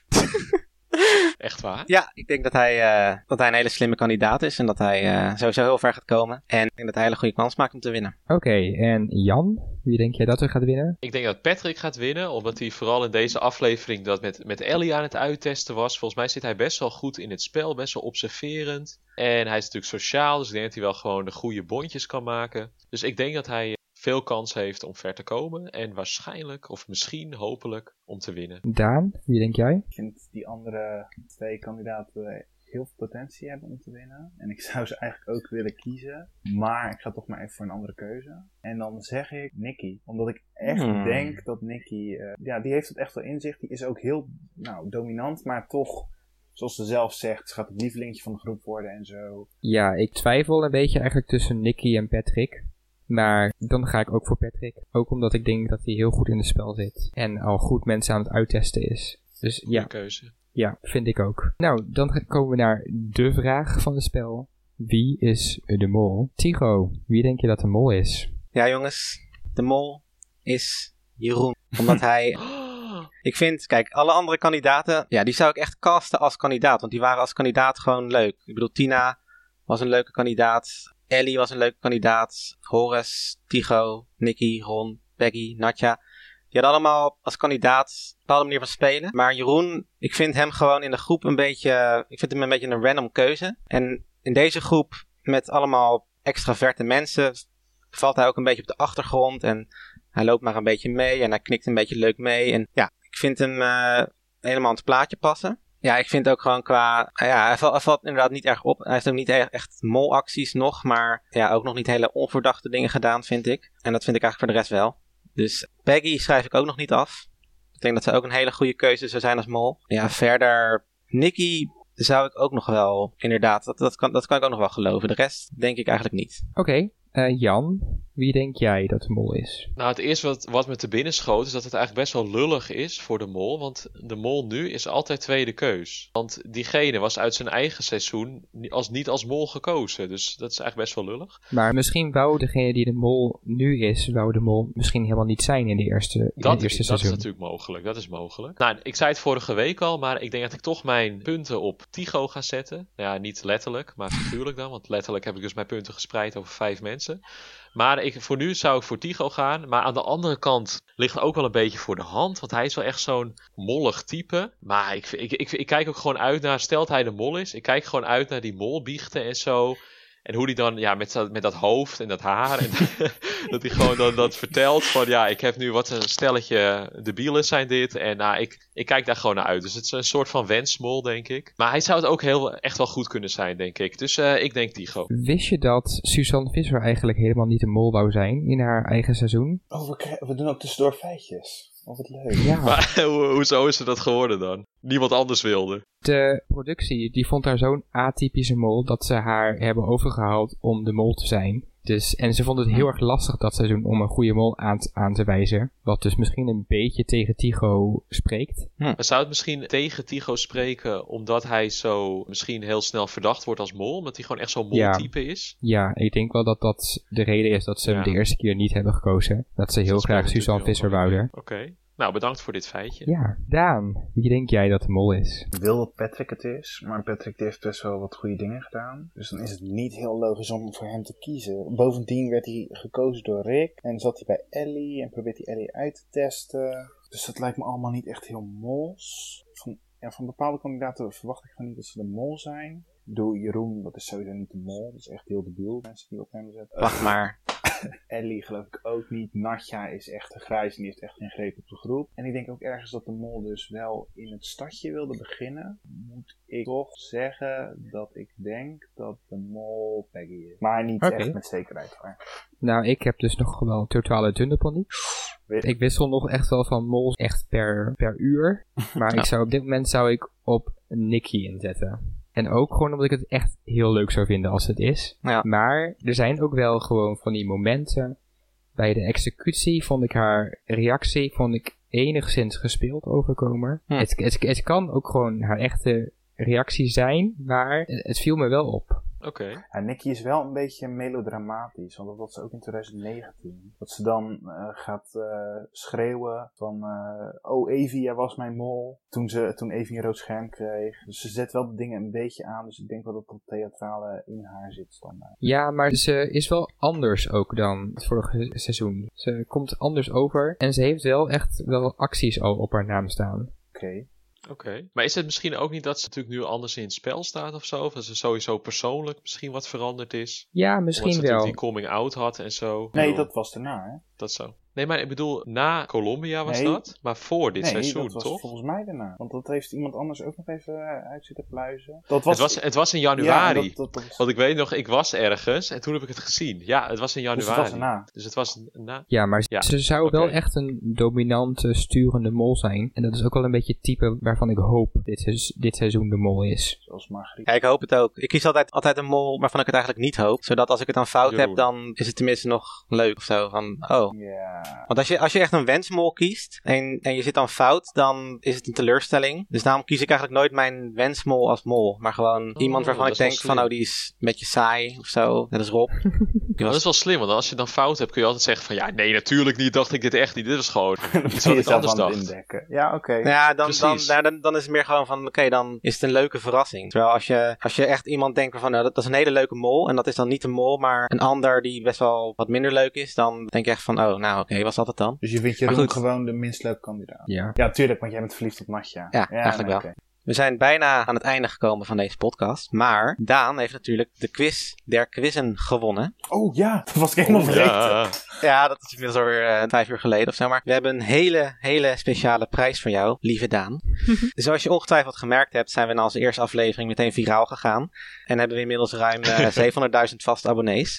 Echt waar?
Ja, ik denk dat hij, eh, dat hij een hele slimme kandidaat is en dat hij eh, sowieso heel ver gaat komen. En ik denk dat hij een hele goede kans maakt om te winnen.
Oké, en Jan? Wie denk jij dat er gaat winnen?
Ik denk dat Patrick gaat winnen, omdat hij vooral in deze aflevering dat met, met Ellie aan het uittesten was. Volgens mij zit hij best wel goed in het spel, best wel observerend. En hij is natuurlijk sociaal, dus ik denk dat hij wel gewoon de goede bondjes kan maken. Dus ik denk dat hij veel kans heeft om ver te komen. En waarschijnlijk, of misschien, hopelijk, om te winnen.
Daan? Wie denk jij?
Ik vind die andere twee kandidaten heel veel potentie hebben om te winnen. En ik zou ze eigenlijk ook willen kiezen. Maar ik ga toch maar even voor een andere keuze. En dan zeg ik Nicky. Omdat ik echt
Hmm.
denk dat Nicky... eh, ja, die heeft het echt wel in zich. Die is ook heel nou, dominant. Maar toch, zoals ze zelf zegt, ze gaat het lievelingetje van de groep worden en zo.
Ja, ik twijfel een beetje eigenlijk tussen Nicky en Patrick. Maar dan ga ik ook voor Patrick. Ook omdat ik denk dat hij heel goed in het spel zit. En al goed mensen aan het uittesten is. Dus
Goeie
ja,
keuze.
ja, vind ik ook. Nou, dan ga- komen we naar de vraag van het spel. Wie is de mol? Tigo, wie denk je dat de mol is?
Ja, jongens, de mol is Jeroen. Omdat hij
Oh,
Ik vind, kijk, alle andere kandidaten, ja, die zou ik echt casten als kandidaat. Want die waren als kandidaat gewoon leuk. Ik bedoel, Tina was een leuke kandidaat. Ellie was een leuke kandidaat. Horace, Tigo, Nicky, Ron, Peggy, Natja. Die hadden allemaal als kandidaat een bepaalde manier van spelen. Maar Jeroen, ik vind hem gewoon in de groep een beetje... Ik vind hem een beetje een random keuze. En in deze groep, met allemaal extraverte mensen... valt hij ook een beetje op de achtergrond. En hij loopt maar een beetje mee. En hij knikt een beetje leuk mee. En ja, ik vind hem eh, helemaal aan het plaatje passen. Ja, ik vind ook gewoon qua... eh, Ja, hij valt, hij valt inderdaad niet erg op. Hij heeft ook niet e- echt molacties nog. Maar ja, ook nog niet hele onverdachte dingen gedaan, vind ik. En dat vind ik eigenlijk voor de rest wel. Dus Peggy schrijf ik ook nog niet af. Ik denk dat ze ook een hele goede keuze zou zijn als mol. Ja, verder... Nicky zou ik ook nog wel... Inderdaad, dat, dat, kan, dat kan ik ook nog wel geloven. De rest denk ik eigenlijk niet.
Oké, eh, Jan, wie denk jij dat de mol is?
Nou, het eerste wat, wat me te binnen schoot is dat het eigenlijk best wel lullig is voor de mol. Want de mol nu is altijd tweede keus. Want diegene was uit zijn eigen seizoen ni- als, niet als mol gekozen. Dus dat is eigenlijk best wel lullig.
Maar misschien wou degene die de mol nu is, wou de mol misschien helemaal niet zijn in, de eerste, in
Dat, is,
het eerste
dat is
seizoen.
natuurlijk mogelijk. Dat is mogelijk. Nou, ik zei het vorige week al, maar ik denk dat ik toch mijn punten op Tigo ga zetten. Nou Ja, niet letterlijk, maar figuurlijk dan. Want letterlijk heb ik dus mijn punten gespreid over vijf mensen. Maar ik, voor nu zou ik voor Tigo gaan. Maar aan de andere kant ligt ook wel een beetje voor de hand. Want hij is wel echt zo'n mollig type. Maar ik, ik, ik, ik kijk ook gewoon uit naar, stelt hij de mol is. Ik kijk gewoon uit naar die molbiechten en zo. En hoe die dan, ja, met, dat- met dat hoofd en dat haar. En dat hij gewoon dan dat vertelt van, ja, ik heb nu wat een stelletje debielen zijn dit. En nou, ik, ik kijk daar gewoon naar uit. Dus het is een soort van wensmol, denk ik. Maar hij zou het ook heel, echt wel goed kunnen zijn, denk ik. Dus eh, ik denk Tigo.
Wist je dat Suzanne Visser eigenlijk helemaal niet de mol wou zijn in haar eigen seizoen?
Oh, we, kri- we doen ook tussendoor feitjes. Oh, wat leuk.
Ja.
Maar ho- hoezo is ze dat geworden dan? Niemand anders wilde.
De productie die vond haar zo'n atypische mol dat ze haar hebben overgehaald om de mol te zijn. Dus, en ze vond het heel erg lastig dat seizoen om een goede mol aan, t- aan te wijzen. Wat dus misschien een beetje tegen Tigo spreekt.
Maar zou het misschien tegen Tigo spreken omdat hij zo misschien heel snel verdacht wordt als mol? Omdat hij gewoon echt zo'n
Ja.
moltype is?
Ja, ik denk wel dat dat de reden is dat ze hem
Ja.
de eerste keer niet hebben gekozen. Dat ze heel
Dat
graag
speelt
Suzanne
natuurlijk wel.
Visser wouden.
Oké. Nou, bedankt voor dit feitje.
Ja, Daan, wie denk jij dat de mol is?
Ik wil dat Patrick het is, maar Patrick die heeft best wel wat goede dingen gedaan. Dus dan is het niet heel logisch om voor hem te kiezen. Bovendien werd hij gekozen door Rick en zat hij bij Ellie en probeert hij Ellie uit te testen. Dus dat lijkt me allemaal niet echt heel mols. Van, ja, van bepaalde kandidaten verwacht ik gewoon niet dat ze de mol zijn. Ik bedoel, Jeroen, dat is sowieso niet de mol. Dat is echt heel debiel, mensen die op hem zetten.
Wacht maar.
Ellie geloof ik ook niet. Natja is echt een grijs en die heeft echt geen greep op de groep. En ik denk ook ergens dat de mol dus wel in het stadje wilde beginnen. Moet ik toch zeggen dat ik denk dat de mol Peggy is. Maar niet
Oké.
echt met zekerheid hoor.
Nou, ik heb dus nog wel totale dunderpaniek.
Weet-
Ik wissel nog echt wel van mols echt per, per uur. Maar ik zou, op dit moment zou ik op Nicky inzetten. En ook gewoon omdat ik het echt heel leuk zou vinden als het is.
Ja.
Maar er zijn ook wel gewoon van die momenten. Bij de executie vond ik haar reactie vond ik enigszins gespeeld overkomen.
Hm.
Het, het, het kan ook gewoon haar echte reactie zijn, maar het viel me wel op.
Oké.
Ja, Nicky is wel een beetje melodramatisch, want dat was ze ook in 2019. Dat ze dan eh, gaat eh, schreeuwen van, eh, oh Evie, jij was mijn mol. Toen, ze, toen Evie een rood scherm kreeg. Dus ze zet wel de dingen een beetje aan, dus ik denk wel dat dat theatrale in haar zit standaard.
Ja, maar ze is wel anders ook dan het vorige seizoen. Ze komt anders over en ze heeft wel echt wel acties al op haar naam staan.
Oké.
Oké. Maar is het misschien ook niet dat ze natuurlijk nu anders in het spel staat of zo? Of dat ze sowieso persoonlijk misschien wat veranderd is? Omdat
Ja,
ze
misschien
natuurlijk
wel.
die coming out had en zo. Ik
Nee,
bedoel,
dat was daarna, hè?
Dat zo. Nee, maar ik bedoel, na Colombia was
Nee.
dat, maar voor dit
nee,
seizoen,
dat was
toch?
volgens mij daarna. Want dat heeft iemand anders ook nog even eh, uit zitten pluizen. Dat
Het, was, het was in januari.
Ja, dat, dat, dat was,
Want ik weet nog, ik was ergens en toen heb ik het gezien. Ja, het was in januari.
dus dat was daarna.
Dus het was na.
Ja, maar
Ja,
ze zou
oké.
wel echt een dominante, sturende mol zijn. En dat is ook wel een beetje het type waarvan ik hoop dit, se- dit seizoen de mol is.
Zoals Margriet.
Ja, ik hoop het ook. Ik kies altijd, altijd een mol waarvan ik het eigenlijk niet hoop. Zodat als ik het dan fout heb,
Jeroen.
dan is het tenminste nog leuk of zo. Van, oh.
Ja.
Want als je, als je echt een wensmol kiest en, en je zit dan fout, dan is het een teleurstelling. Dus daarom kies ik eigenlijk nooit mijn wensmol als mol. Maar gewoon
Oh,
iemand
dat
waarvan ik
is wel
denk van,
slim.
oh, die is een beetje saai of zo. Net als Rob. Die
Maar dat
was-
is wel slim, want als je dan fout hebt, kun je altijd zeggen van... Ja, nee, natuurlijk niet, dacht ik dit echt niet. Dit was gewoon iets wat ik
Jezelf
anders
aan het
dacht.
indekken. Ja, oké.
Nou ja, dan, dan,
Precies.
nou, dan, dan is het meer gewoon van, oké, dan is het een leuke verrassing. Terwijl als je, als je echt iemand denkt van, nou, dat, dat is een hele leuke mol. En dat is dan niet een mol, maar een ander die best wel wat minder leuk is. Dan denk je echt van, oh, nou, oké, was dat het dan?
Dus je vindt
Maar
Jeroen
goed.
gewoon de minst leuke kandidaat.
Ja.
Ja, tuurlijk, want jij bent verliefd op Natja.
Ja, eigenlijk wel.
oké.
We zijn bijna aan het einde gekomen van deze podcast. Maar Daan heeft natuurlijk de quiz der quizzen gewonnen.
Oh ja, dat was ik helemaal vergeten.
Ja,
Ja, dat is inmiddels alweer eh, vijf uur geleden of zo. Maar we hebben een hele, hele speciale prijs voor jou, lieve Daan. Zoals je ongetwijfeld gemerkt hebt, zijn we na onze eerste aflevering meteen viraal gegaan. En hebben we inmiddels ruim eh 700.000 vaste abonnees.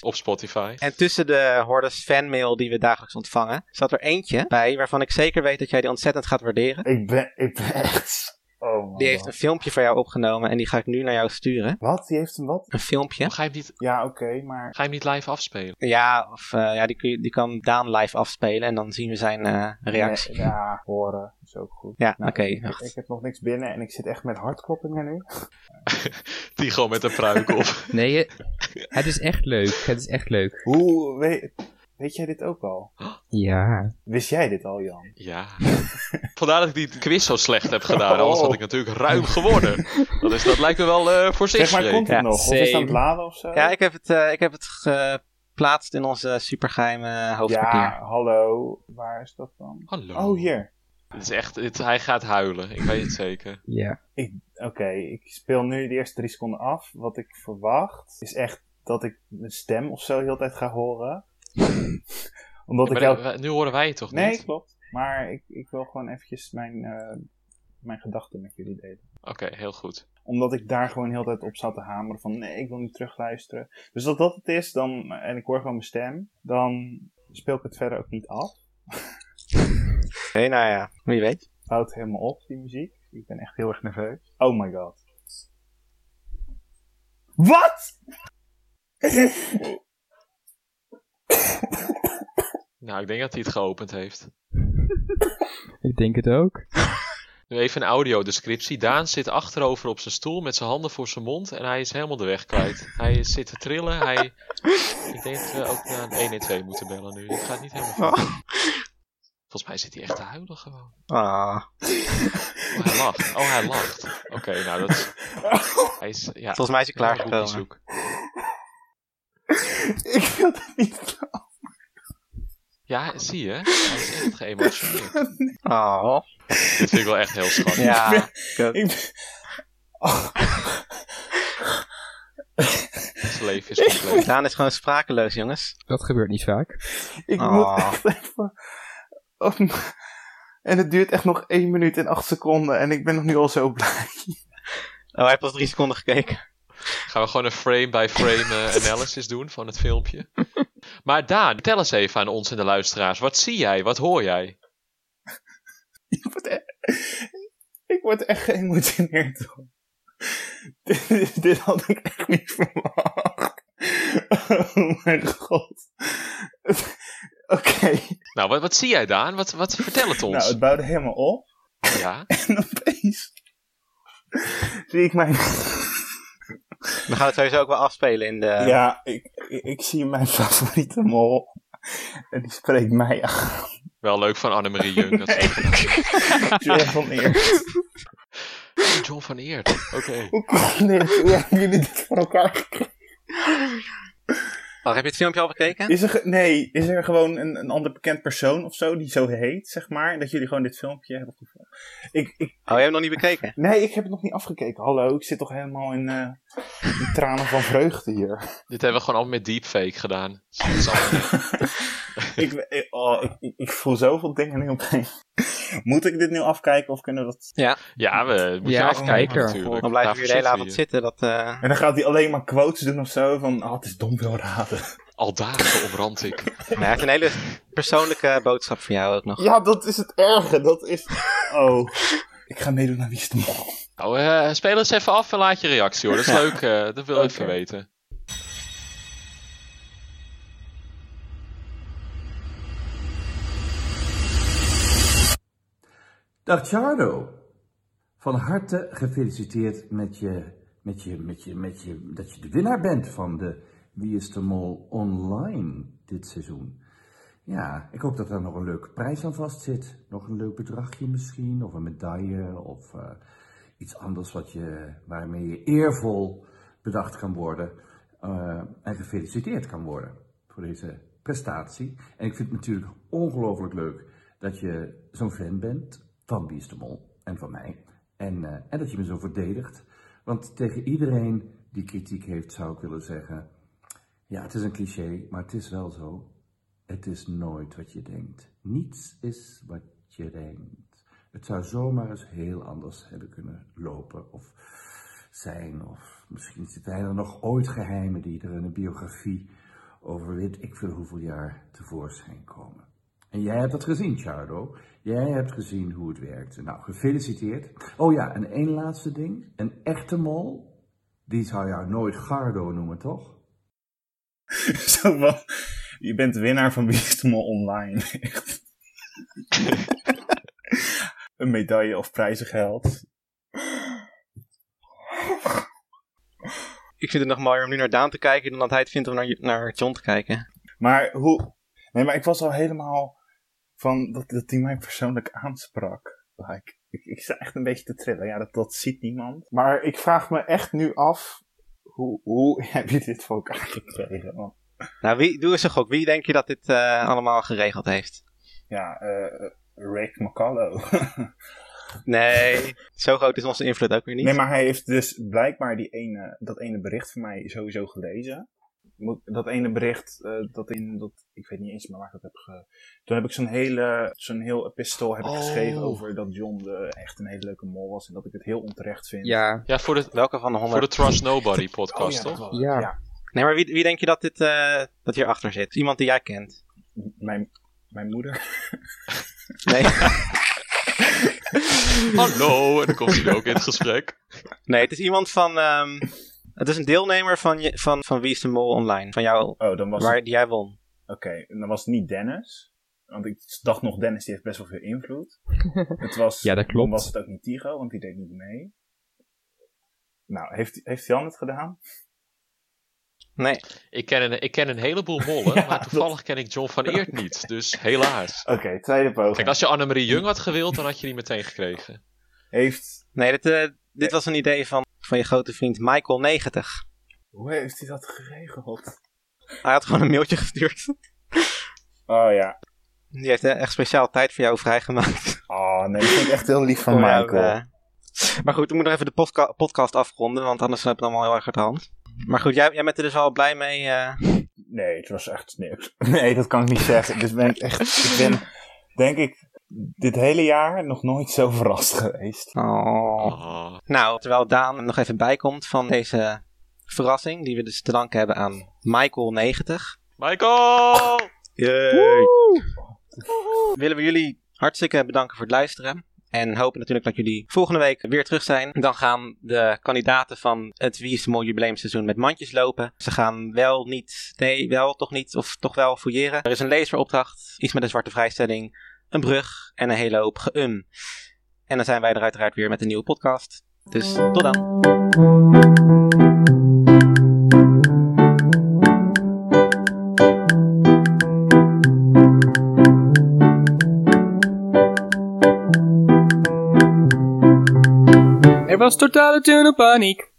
op Spotify.
En tussen de hordes fanmail die we dagelijks ontvangen, zat er eentje bij waarvan ik zeker weet dat jij die ontzettend gaat waarderen.
Ik ben, ik ben echt... Oh man.
Die heeft een filmpje voor jou opgenomen en die ga ik nu naar jou sturen.
Wat? Die heeft een wat?
Een filmpje.
Ga je hem niet,
Ja, oké, maar...
ga je hem niet live afspelen?
Ja, of, eh, ja die, kun je- die kan Daan live afspelen en dan zien we zijn eh, reactie.
Nee, ja, horen is ook goed.
Ja,
Nou,
oké.
ik-
wacht.
Ik, heb nog niks binnen en ik zit echt met hartkloppingen nu.
Die gewoon met een pruik op.
Nee, je- het is echt leuk. Het is echt leuk.
Hoe... Weet, weet jij dit ook al?
Ja.
Wist jij dit al, Jan?
Ja. Vandaar dat ik die quiz zo slecht heb gedaan. Anders
Oh.
had ik natuurlijk ruim gewonnen. Dat, is, dat lijkt me wel eh voor zich
Zeg maar, komt het
Ja,
nog? Of is het aan het
same.
laden of zo?
Ja, ik heb het, eh, ik heb het geplaatst in onze supergeheime hoofdkwartier.
Ja, hallo. Waar is dat dan?
Hallo.
Oh, hier.
Dit is echt, dit- hij gaat huilen, ik weet het zeker.
Ja.
Oké, ik speel nu de eerste drie seconden af. Wat ik verwacht is echt dat ik mijn stem of zo heel de tijd ga horen. Omdat ik
Maar
jou...
we- nu horen wij het toch
Nee,
niet?
klopt. Maar ik, ik wil gewoon eventjes mijn, eh, mijn gedachten met jullie delen.
Oké, heel goed.
Omdat ik daar gewoon heel de tijd op zat te hameren van... Nee, ik wil niet terugluisteren. Dus als dat het is dan, en ik hoor gewoon mijn stem... Dan speel ik het verder ook niet af.
Oké, nou ja, wie weet.
Houdt helemaal op, die muziek. Ik ben echt heel erg nerveus. Oh my god. Wat?
Nou, ik denk dat hij het geopend heeft.
Ik denk het ook.
Nu even een audiodescriptie. Daan zit achterover op zijn stoel met zijn handen voor zijn mond en hij is helemaal de weg kwijt. Hij zit te trillen. Hij... Ik denk dat we ook naar een 112 moeten bellen nu. Dit gaat niet helemaal
Oh.
goed. Volgens mij zit hij echt te huilen gewoon.
Ah,
Oh, hij lacht. Oh, hij lacht. Oké, nou dat is... Hij is... Ja,
volgens mij is hij
helemaal goed
klaargekomen.
bezoek.
Ik wil dit niet
Ja, zie je? Hij is echt geëmotioneerd.
Oh,
Dit vind ik wel echt heel schattig.
ja.
Ik ben-
Zijn leven is compleet.
Daan is gewoon sprakeloos, jongens.
Dat gebeurt niet vaak.
Ik
Ah.
moet echt even. Oh, m- en het duurt echt nog 1 minuut en 8 seconden. En ik ben nog nu al zo blij.
Oh, hij heeft pas drie seconden gekeken.
Gaan we gewoon een frame-by-frame eh, analysis doen van het filmpje. Maar Daan, vertel eens even aan ons en de luisteraars. Wat zie jij? Wat hoor jij?
Ik word, e- ik word echt geëmotioneerd. hoor. Dit, dit had ik echt niet verwacht. Oh mijn god. Oké.
Nou, wat, wat zie jij Daan? Wat, wat, vertel het ons.
Nou, het bouwde helemaal op.
Ja?
En opeens zie ik mijn...
We gaan het sowieso ook wel afspelen in de...
Ja, ik, ik, ik zie mijn favoriete mol. En die spreekt mij aan.
Wel leuk van Annemarie Jung. dat ze-
John van Eer.
John van Eert. Oké.
Hoe kon dit? Hoe hebben jullie dit voor elkaar gekregen?
Oh, heb je het filmpje al bekeken?
Is er, ge- nee, is er gewoon een, een ander bekend persoon of zo die zo heet, zeg maar? En dat jullie gewoon dit filmpje hebben gevonden? Ik, ik,
Oh, je hebt hem nog niet bekeken?
nee, ik heb het nog niet afgekeken. Hallo, ik zit toch helemaal in, eh, in tranen van vreugde hier.
Dit hebben we gewoon allemaal met deepfake gedaan. Dat is allemaal-
ik, ik- oh, ik, ik, ik voel zoveel dingen nu opeen. Moet ik dit nu afkijken of kunnen we dat...
Ja, we moeten
Ja,
afkijken
kijker.
natuurlijk.
Dan blijven we
Daarvoor
hier de hele
zitten we
avond zitten. Dat, eh,
En dan gaat hij alleen maar quotes doen of zo van... Ah, het is dom wel raden.
hier. Al dagen omrand ik.
maar Nou, Hij heeft een hele persoonlijke boodschap voor jou ook nog.
Ja, dat is het erge. Dat is... Oh. Ik ga meedoen naar Wie is de Mol.
Nou, eh, speel eens even af en laat je reactie hoor. Dat is leuk. eh, dat wil ik even weten.
Dag Chardo. Van harte gefeliciteerd met je, met je, met je, met je, dat je de winnaar bent van de Wie is de Mol online dit seizoen. Ja, ik hoop dat daar nog een leuke prijs aan vast zit. Nog een leuk bedragje misschien, of een medaille, of eh, iets anders wat je, waarmee je eervol bedacht kan worden eh, en gefeliciteerd kan worden voor deze prestatie. En ik vind het natuurlijk ongelooflijk leuk dat je zo'n fan bent van Wie is de Mol en van mij. En, eh, en dat je me zo verdedigt. Want tegen iedereen die kritiek heeft, zou ik willen zeggen: ja, het is een cliché, maar het is wel zo. Het is nooit wat je denkt. Niets is wat je denkt. Het zou zomaar eens heel anders hebben kunnen lopen of zijn. Of misschien zijn er nog ooit geheimen die er in een biografie over weet ik veel hoeveel jaar tevoorschijn komen. En jij hebt dat gezien, Chardo. Jij hebt gezien hoe het werkt. Nou, gefeliciteerd. Oh ja, en één laatste ding. Een echte mol, die zou jou nooit Gardo noemen, toch?
Zo van... Je bent de winnaar van Wie is de Mol online. Echt. een medaille of prijzengeld.
Ik vind het nog mooier om nu naar Daan te kijken dan dat hij het vindt om naar, naar John te kijken.
Maar hoe... Nee, maar ik was al helemaal van dat, dat hij mij persoonlijk aansprak. Like, ik, ik sta echt een beetje te trillen. Ja, dat, dat ziet niemand. Maar ik vraag me echt nu af... Hoe, hoe heb je dit voor elkaar gekregen? Want,
Nou, wie, doe eens een gok. Wie denk je dat dit eh, allemaal geregeld heeft?
ja, eh Rick McCallow.
Nee, zo groot is onze invloed ook weer niet.
Nee, maar hij heeft dus blijkbaar die ene, dat ene bericht van mij sowieso gelezen. Moet- Dat ene bericht, eh, dat in, dat, ik weet niet eens meer waar ik dat heb ge... Toen heb ik zo'n hele, zo'n heel epistel heb ik
Oh.
geschreven over dat John de, echt een hele leuke mol was. En dat ik het heel onterecht vind.
Ja,
Ja, voor de,
Welke van de
voor de
honderd?
Trust Nobody
oh,
podcast,
ja, dat
toch?
was-
Ja.
ja.
Nee, maar wie, wie denk je dat, dit, eh dat hierachter zit? Iemand die jij kent?
M- Mijn, mijn moeder.
Nee,
Hallo, en dan komt hij ook in het gesprek.
nee het is iemand van... ehm, het is een deelnemer van, je, van, van Wie is de Mol Online. Van jou,
Oh, dan was
waar,
het,
die jij won.
oké, en dan was het niet Dennis. Want ik dacht nog, Dennis die heeft best wel veel invloed. het was,
Ja, dat klopt.
Dan was het ook niet Tigo, want die deed niet mee. Nou, heeft, heeft Jan het gedaan?
Nee,
Ik ken een, ik ken een heleboel mollen,
Ja,
maar toevallig ken ik John van Eert niet. Dus helaas.
Oké, tweede poging.
Kijk, als je Annemarie Jung had gewild, dan had je die meteen gekregen.
Heeft,
nee dit, eh, dit was een idee van, van je grote vriend Michael90.
hoe heeft hij dat geregeld?
Hij had gewoon een mailtje gestuurd.
Oh ja.
Die heeft eh, echt speciaal tijd voor jou vrijgemaakt.
Oh nee, dat vind ik echt heel lief van
Om jou,
Michael.
eh, maar goed, we moeten nog even de podca- podcast afronden, want anders loopt het allemaal heel erg uit de hand. Maar goed, jij, jij bent er dus al blij mee. eh.
Nee, het was echt niks. Nee, dat kan ik niet zeggen. Dus ben ik echt, ik ben, denk ik, dit hele jaar nog nooit zo verrast geweest.
Oh.
Ah,
Nou, terwijl Daan er nog even bij komt van deze verrassing, die we dus te danken hebben aan Michael90.
Michael!
Willen we jullie hartstikke bedanken voor het luisteren. En hopen natuurlijk dat jullie volgende week weer terug zijn. Dan gaan de kandidaten van het Wie is de Mol jubileumseizoen met mandjes lopen. Ze gaan wel niet, nee, wel toch niet, of toch wel fouilleren. Er is een lezeropdracht, iets met een zwarte vrijstelling, een brug en een hele hoop geum. En dan zijn wij er uiteraard weer met een nieuwe podcast. Dus tot dan.
Er was totale tunnelpaniek.